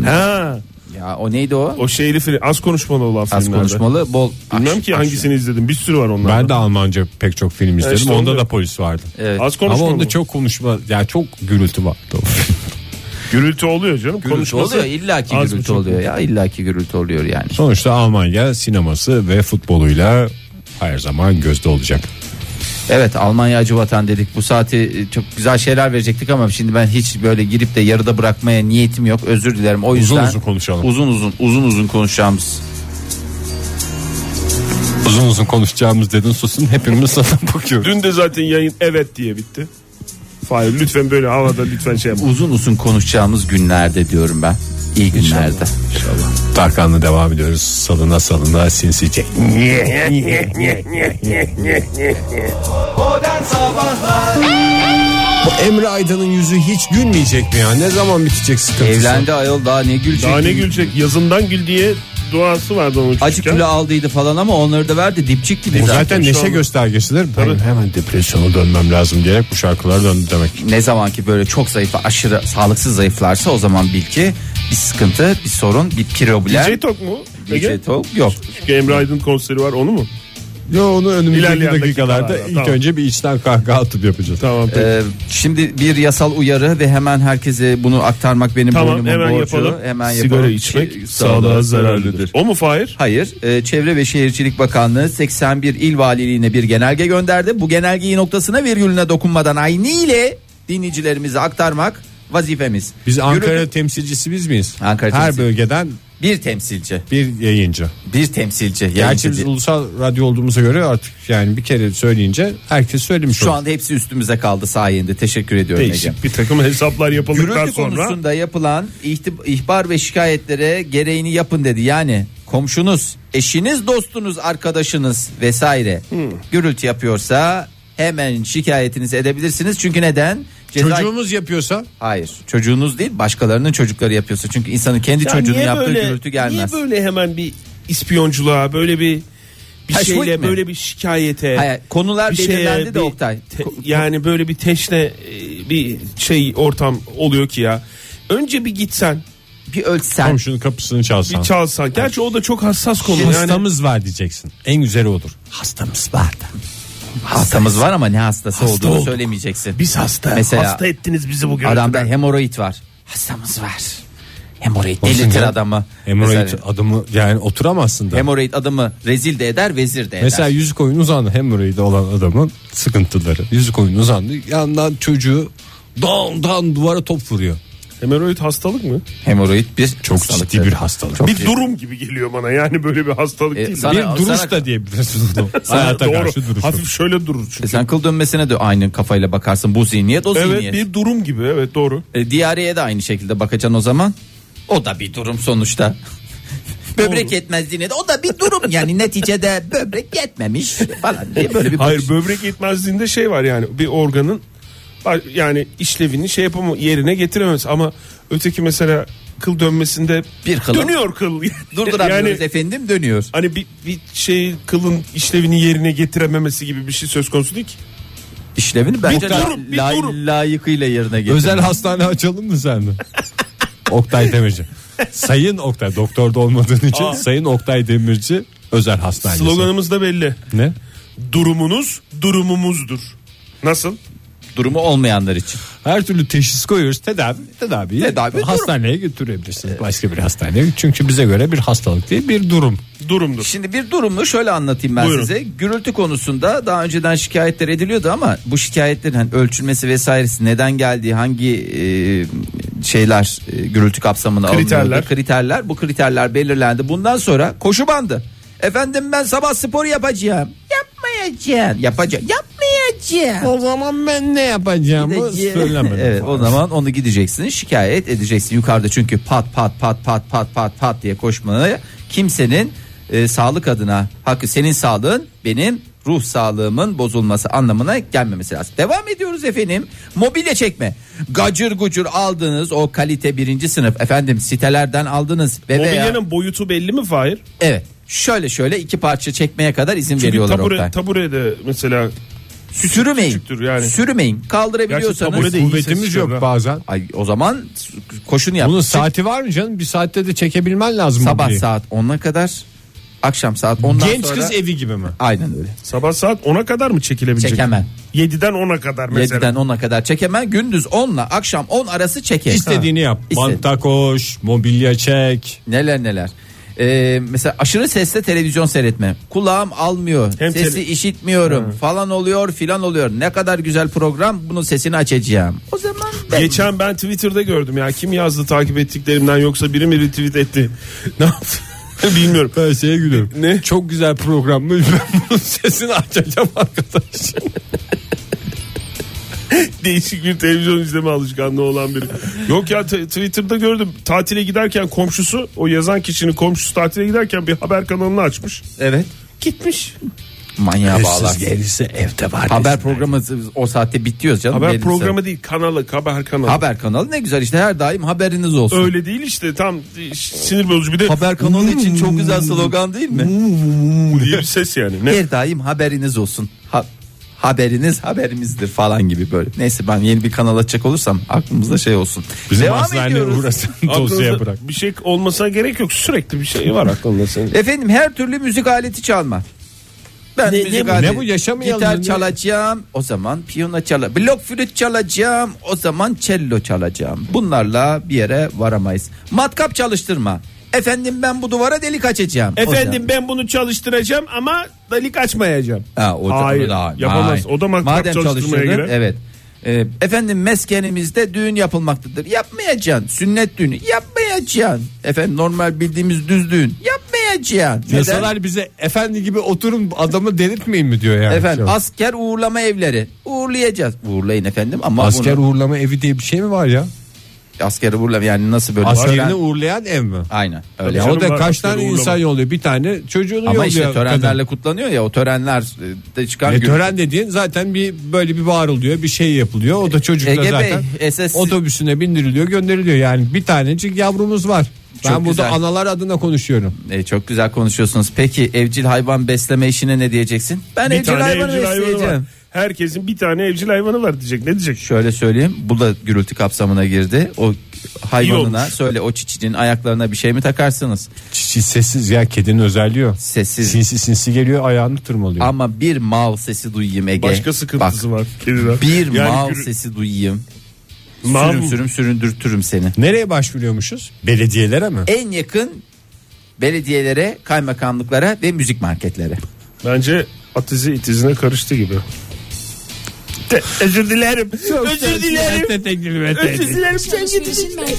Speaker 1: Ha,
Speaker 3: ya o neydi o?
Speaker 1: o şeyli film az konuşmalı olan
Speaker 3: Az
Speaker 1: filmlerde.
Speaker 3: konuşmalı bol.
Speaker 1: Bilmem
Speaker 3: aksiyon.
Speaker 1: ki hangisini izledim. Bir sürü var onlarda.
Speaker 2: Ben de Almanca pek çok film izledim.
Speaker 1: işte onu
Speaker 2: onda
Speaker 1: diyorum.
Speaker 2: da polis vardı.
Speaker 3: Evet.
Speaker 1: Az
Speaker 2: Ama
Speaker 1: konuşmalı.
Speaker 2: onda çok konuşma yani çok gürültü vardı.
Speaker 1: Gürültü oluyor canım.
Speaker 3: Gürültü
Speaker 1: Konuşması
Speaker 3: oluyor illaki
Speaker 1: az
Speaker 3: gürültü
Speaker 1: buçuk.
Speaker 3: oluyor ya illaki gürültü oluyor yani.
Speaker 2: Sonuçta Almanya sineması ve futboluyla her zaman gözde olacak.
Speaker 3: Evet Almanya acı vatan dedik. Bu saati e, çok güzel şeyler verecektik ama şimdi ben hiç böyle girip de yarıda bırakmaya niyetim yok. Özür dilerim. O yüzden
Speaker 2: uzun konuşalım.
Speaker 3: Uzun uzun uzun uzun konuşacağımız.
Speaker 2: Uzun uzun konuşacağımız dedin susun hepimiz sana bakıyoruz.
Speaker 1: Dün de zaten yayın evet diye bitti. Fahir lütfen böyle havada lütfen şey yapma.
Speaker 3: Uzun uzun konuşacağımız günlerde diyorum ben. İyi günlerde.
Speaker 2: Tarkan'la devam ediyoruz. Salına salına sinsice. Bu Emre Aydın'ın yüzü hiç gülmeyecek mi ya? Ne zaman bitecek sıkıntısı?
Speaker 3: Evlendi ayol daha ne gülecek?
Speaker 1: Daha ne gülecek? Yazından gül diye duası vardı onun
Speaker 3: Acı
Speaker 1: küçükken.
Speaker 3: külü aldıydı falan ama onları da verdi dipçik gibi
Speaker 2: Bu
Speaker 3: zaten.
Speaker 2: zaten
Speaker 1: şey
Speaker 2: neşe göstergesidir. Ben hemen depresyona dönmem lazım diyerek bu şarkılar döndü demek.
Speaker 3: Ne zaman ki böyle çok zayıf ve aşırı sağlıksız zayıflarsa o zaman bil ki bir sıkıntı, bir sorun, bir problem.
Speaker 1: DJ Tok mu? Ege?
Speaker 3: DJ Talk yok.
Speaker 1: Çünkü Emre Aydın konseri var onu mu?
Speaker 2: Yo onu önümüzdeki
Speaker 1: İlerleyen
Speaker 2: dakikalarda
Speaker 1: dakikalarda,
Speaker 2: ilk
Speaker 1: tamam.
Speaker 2: önce bir içten kahkaha atıp yapacağız. E,
Speaker 1: Tamam peki.
Speaker 3: Ee, şimdi bir yasal uyarı ve hemen herkese bunu aktarmak benim
Speaker 1: tamam
Speaker 3: boynumun
Speaker 1: hemen
Speaker 3: borcu.
Speaker 1: yapalım.
Speaker 3: Hemen yapalım. Şey,
Speaker 1: Sigara içmek sağlığa zararlıdır. O mu Fahir?
Speaker 3: Hayır, e, Çevre ve Şehircilik Bakanlığı 81 il valiliğine bir genelge gönderdi. Bu genelgeyi noktasına virgülüne dokunmadan aynı ile dinleyicilerimize aktarmak vazifemiz.
Speaker 2: Biz Ankara
Speaker 3: Yürü-
Speaker 2: temsilcisi biz miyiz?
Speaker 3: Ankara
Speaker 2: Her
Speaker 3: temsilcisi.
Speaker 2: bölgeden
Speaker 3: Bir temsilci.
Speaker 2: Bir yayıncı.
Speaker 3: Bir temsilci.
Speaker 2: Gerçi
Speaker 3: Yayıncı
Speaker 2: biz
Speaker 3: değil.
Speaker 2: ulusal radyo olduğumuza göre artık yani bir kere söyleyince herkes söylemiş
Speaker 3: Şu
Speaker 2: olur.
Speaker 3: anda hepsi üstümüze kaldı sayende. Teşekkür ediyorum Ege.
Speaker 1: Değişik bir takım hesaplar yapıldıktan
Speaker 3: Gürültü
Speaker 1: sonra
Speaker 3: konusunda yapılan ihtib- ihbar ve şikayetlere gereğini yapın dedi. Yani komşunuz, eşiniz, dostunuz, arkadaşınız vesaire
Speaker 1: Hmm.
Speaker 3: gürültü yapıyorsa hemen şikayetinizi edebilirsiniz. Çünkü neden? Ceza...
Speaker 2: Çocuğumuz yapıyorsa
Speaker 3: Hayır çocuğunuz değil başkalarının çocukları yapıyorsa. Çünkü insanın kendi
Speaker 1: Ya
Speaker 3: çocuğunun
Speaker 1: niye
Speaker 3: yaptığı
Speaker 1: böyle-
Speaker 3: gürültü gelmez.
Speaker 1: Niye böyle hemen bir ispiyonculuğa böyle bir bir
Speaker 3: Teşvik
Speaker 1: şeyle
Speaker 3: mi?
Speaker 1: böyle bir şikayete
Speaker 3: Hayır, konular
Speaker 1: bir şey,
Speaker 3: belirlendi de
Speaker 1: bir
Speaker 3: Oktay.
Speaker 1: te- yani böyle bir teşne e, bir şey ortam oluyor ki ya. Önce bir gitsen
Speaker 3: Bir ölçsen.
Speaker 2: komşunun kapısını
Speaker 1: bir
Speaker 2: çalsan.
Speaker 1: çalsan. Gerçi o da çok hassas konu. Yani
Speaker 2: Hastamız var diyeceksin. En güzeli odur. Hastamız var.
Speaker 3: Hastamız var ama ne hastası
Speaker 2: Hasta
Speaker 3: olduğunu
Speaker 2: olduk.
Speaker 3: söylemeyeceksin.
Speaker 1: biz hasta.
Speaker 3: Mesela-
Speaker 1: hasta ettiniz bizi bugün.
Speaker 3: Adamda hemoroid var. Hastamız var. Hemoroid
Speaker 2: Olsun
Speaker 3: delirtir
Speaker 2: ya.
Speaker 3: adamı.
Speaker 2: Hemoroid
Speaker 3: Mesela-
Speaker 2: adımı yani oturamazsın da.
Speaker 3: Hemoroid adamı rezil de eder vezir de eder.
Speaker 2: Mesela yüzük oyunu uzandı hemoroidi olan adamın sıkıntıları. Yüzük oyunu uzandı. Yandan çocuğu dan dan duvara top vuruyor.
Speaker 1: Hemoroid hastalık mı?
Speaker 3: hemoroid bir
Speaker 2: Çok
Speaker 3: hastalık
Speaker 2: ciddi
Speaker 3: tabii.
Speaker 2: bir hastalık.
Speaker 3: Çok
Speaker 2: bir,
Speaker 1: bir durum gibi geliyor bana. Yani böyle bir hastalık
Speaker 3: E,
Speaker 1: değil.
Speaker 3: sana-
Speaker 2: bir duruş
Speaker 3: sana-
Speaker 2: da diyebilirsin bunu.
Speaker 1: Sana-
Speaker 2: Hayata
Speaker 1: doğru.
Speaker 2: karşı duruş.
Speaker 1: Hafif şöyle durur çünkü.
Speaker 3: E sen kıl dönmesine de aynı kafayla bakarsın. Bu zihniyet o
Speaker 1: Evet
Speaker 3: zihniyet.
Speaker 1: bir durum gibi evet doğru.
Speaker 3: E, diyareye de aynı şekilde bakacaksın o zaman. O da bir durum sonuçta. böbrek yetmezliğine de o da bir durum yani neticede böbrek yetmemiş falan diye böyle bir
Speaker 1: Hayır
Speaker 3: bakış.
Speaker 1: böbrek yetmezliğinde şey var yani bir organın yani işlevini şey yapamam yerine getiremez ama öteki mesela kıl dönmesinde
Speaker 3: Bir kıl.
Speaker 1: dönüyor kıl.
Speaker 3: Durduramıyoruz efendim dönüyor.
Speaker 1: hani bir, bir şey kılın işlevini yerine getirememesi gibi bir şey söz konusu değil ki.
Speaker 3: İşlevini bence
Speaker 1: Bir durum, bir
Speaker 3: la-
Speaker 1: durum.
Speaker 3: layıkıyla yerine getir.
Speaker 2: Özel hastane açalım mı sen de? Oktay Demirci. Sayın Oktay doktorda olmadığın için Sayın Oktay Demirci özel hastanesi.
Speaker 1: Sloganımız da belli.
Speaker 2: ne?
Speaker 1: Durumunuz durumumuzdur. Nasıl?
Speaker 3: durumu olmayanlar için.
Speaker 2: Her türlü teşhis koyuyoruz tedavi tedaviyi
Speaker 3: Tedavi durum.
Speaker 2: hastaneye götürebilirsiniz başka bir hastaneye çünkü bize göre bir hastalık değil bir durum
Speaker 1: Durumdur.
Speaker 3: Şimdi bir durumu şöyle anlatayım ben
Speaker 1: Buyurun.
Speaker 3: size. Gürültü konusunda daha önceden şikayetler ediliyordu ama bu şikayetlerin hani ölçülmesi vesairesi neden geldiği hangi e, şeyler e, gürültü kapsamına
Speaker 1: Kriterler.
Speaker 3: alınıyordu. Kriterler. Bu kriterler belirlendi. Bundan sonra koşu bandı. Efendim ben sabah spor yapacağım. Yapmayacağım. Yapacağım. Yapmayacağım.
Speaker 2: O zaman ben ne yapacağım
Speaker 3: evet, o zaman onu gideceksin şikayet edeceksin yukarıda çünkü pat pat pat pat pat pat pat diye koşmaya kimsenin e, sağlık adına hakkı senin sağlığın benim ruh sağlığımın bozulması anlamına gelmemesi lazım. Devam ediyoruz efendim. Mobilya çekme. Gacır gucur aldınız o kalite birinci sınıf efendim sitelerden aldınız ve veya
Speaker 1: Mobilyanın boyutu belli mi Fahir?
Speaker 3: evet şöyle şöyle iki parça çekmeye kadar izin
Speaker 1: Çünkü
Speaker 3: veriyorlar
Speaker 1: tabure,
Speaker 3: Oktay.
Speaker 1: taburede mesela
Speaker 3: Sürümeyin.
Speaker 1: küçüktür yani.
Speaker 3: Sürümeyin.
Speaker 1: Gerçi
Speaker 3: Kaldırabiliyorsanız.
Speaker 1: tabure de iyi ses
Speaker 2: kuvvetimiz
Speaker 1: çıkarıyor.
Speaker 2: yok bazen
Speaker 3: Ay o zaman koşun yap.
Speaker 2: bunun
Speaker 3: Çık
Speaker 2: saati var mı canım bir saatte de çekebilmen lazım
Speaker 3: sabah
Speaker 2: mobilyayı.
Speaker 3: saat 10'a kadar, akşam saat 10'dan
Speaker 2: genç
Speaker 3: sonra.
Speaker 2: kız e- evi gibi mi
Speaker 3: Aynen öyle.
Speaker 1: Sabah saat 10'a kadar mı çekilebilecek?
Speaker 3: Çekemem.
Speaker 1: 7'den 10'a kadar mesela.
Speaker 3: 7'den 10'a kadar çekemem. Gündüz 10'la akşam 10 arası çeker.
Speaker 2: istediğini
Speaker 3: Ha.
Speaker 2: yap
Speaker 3: İste-
Speaker 2: manta koş mobilya çek
Speaker 3: Neler neler. Ee, mesela aşırı sesle televizyon seyretme. Kulağım almıyor.
Speaker 1: Hem
Speaker 3: sesi
Speaker 1: tele-
Speaker 3: işitmiyorum. Falan oluyor filan oluyor. Ne kadar güzel program. Bunun sesini açacağım. O zaman ben...
Speaker 1: Geçen ben Twitter'da gördüm ya. Kim yazdı takip ettiklerimden yoksa biri mi retweet etti? Ne yaptı? Bilmiyorum.
Speaker 2: ben şeye gülüyorum
Speaker 1: Ne?
Speaker 2: çok güzel programmış ben bunun sesini açacağım arkadaş
Speaker 1: Değişik bir televizyon izleme alışkanlığı olan biri. Yok ya t- Twitter'da gördüm. Tatile giderken komşusu o yazan kişinin komşusu tatile giderken bir haber kanalını açmış.
Speaker 3: Evet.
Speaker 1: Gitmiş.
Speaker 3: Manyağa bağlar.
Speaker 2: gelirse evde var
Speaker 3: Haber programı o saatte bitiyoruz canım.
Speaker 1: Haber
Speaker 3: Belirse.
Speaker 1: programı değil kanalı haber kanalı.
Speaker 3: Haber kanalı ne güzel işte her daim haberiniz olsun.
Speaker 1: Öyle değil işte tam e, sinir bozucu bir de
Speaker 3: Haber kanalı için çok
Speaker 2: Hmm.
Speaker 3: güzel slogan değil mi?
Speaker 1: diye bir ses yani. Ne?
Speaker 3: Her daim haberiniz olsun. Ha- haberiniz haberimizdir falan gibi böyle. Neyse ben yeni bir kanal açacak olursam aklımızda şey olsun.
Speaker 2: Bizim
Speaker 3: Devam
Speaker 2: hastane
Speaker 3: ediyoruz.
Speaker 2: uğrasın
Speaker 1: Aklınızda
Speaker 2: dosyaya bırak.
Speaker 1: Bir şey olmasına gerek yok. Sürekli bir şey var aklında senin.
Speaker 3: Efendim her türlü müzik aleti çalma. Ben müzik
Speaker 2: bu?
Speaker 3: aleti-
Speaker 2: Ne bu? Yaşamayalım
Speaker 3: Gitar
Speaker 2: bunu.
Speaker 3: çalacağım o zaman piyano çala, blok flüt çalacağım o zaman cello çalacağım. Bunlarla bir yere varamayız. Matkap çalıştırma. Efendim ben bu duvara delik açacağım. O zaman-
Speaker 1: Efendim ben bunu çalıştıracağım ama dalik açmayacağım.
Speaker 3: Ha, o
Speaker 1: Hayır,
Speaker 3: da-
Speaker 1: yapamaz. O da matkap çalıştırmaya
Speaker 3: çalıştırdın,
Speaker 1: girer.
Speaker 3: Evet. E, efendim meskenimizde düğün yapılmaktadır. Yapmayacaksın. Sünnet düğünü yapmayacaksın. Efendim normal bildiğimiz düz düğün yapmayacaksın. Neden?
Speaker 5: Yasalar bize efendi gibi oturun adamı delirtmeyin mi diyor yani.
Speaker 3: Efendim
Speaker 5: Şey,
Speaker 3: asker uğurlama evleri uğurlayacağız. Uğurlayın efendim ama
Speaker 5: asker
Speaker 3: bunu,
Speaker 5: uğurlama evi diye bir şey mi var ya?
Speaker 3: asker uğurlama yani nasıl böyle
Speaker 5: Askerini
Speaker 3: tören-
Speaker 5: uğurlayan ev mi?
Speaker 3: Aynen öyle.
Speaker 5: Ya
Speaker 1: Canım
Speaker 5: o da
Speaker 1: var,
Speaker 5: kaç
Speaker 1: askeri
Speaker 5: tane
Speaker 1: uğurlama.
Speaker 5: insan yolluyor? Bir tane çocuğunu
Speaker 3: Ama
Speaker 5: yolluyor.
Speaker 3: işte törenlerle
Speaker 5: kadın.
Speaker 3: kutlanıyor ya o törenler e, de çıkan
Speaker 5: E,
Speaker 3: gürültü.
Speaker 5: tören dediğin zaten bir böyle bir bağırılıyor bir şey yapılıyor. O da çocukla
Speaker 3: Ege Bey,
Speaker 5: zaten
Speaker 3: SS
Speaker 5: otobüsüne bindiriliyor gönderiliyor. Yani bir tanecik yavrumuz var. Ben
Speaker 3: Çok
Speaker 5: burada
Speaker 3: güzel.
Speaker 5: analar adına konuşuyorum.
Speaker 3: E, çok güzel konuşuyorsunuz. Peki evcil hayvan besleme işine ne diyeceksin? Ben
Speaker 1: Bir
Speaker 3: evcil
Speaker 1: tane
Speaker 3: hayvanı
Speaker 1: evcil hayvanı var.
Speaker 3: besleyeceğim.
Speaker 1: Herkesin bir tane evcil hayvanı var diyecek. Ne diyecek?
Speaker 3: Şöyle söyleyeyim bu da gürültü kapsamına girdi. O hayvanına
Speaker 1: olmuş.
Speaker 3: söyle o çiçinin ayaklarına bir şey mi takarsınız?
Speaker 5: Çiçi sessiz ya kedinin özelliği o.
Speaker 3: Sessiz.
Speaker 5: Sinsi sinsi geliyor ayağını tırmalıyor.
Speaker 3: Ama bir mal sesi duyayım Ege.
Speaker 1: Başka sıkıntısı
Speaker 3: Bak,
Speaker 1: var. Kediler.
Speaker 3: Bir
Speaker 1: Yani
Speaker 3: mal
Speaker 1: gürü-
Speaker 3: sesi duyayım.
Speaker 1: Mal
Speaker 3: sürüm
Speaker 1: mı?
Speaker 3: sürüm süründürtürüm seni.
Speaker 5: Nereye başvuruyormuşuz? Belediyelere mi?
Speaker 3: En yakın belediyelere, kaymakamlıklara ve müzik marketlere.
Speaker 1: Bence atizi itizine karıştı gibi. Te- özür dilerim. özür dilerim. özür dilerim.
Speaker 6: Alışverişin merkezi.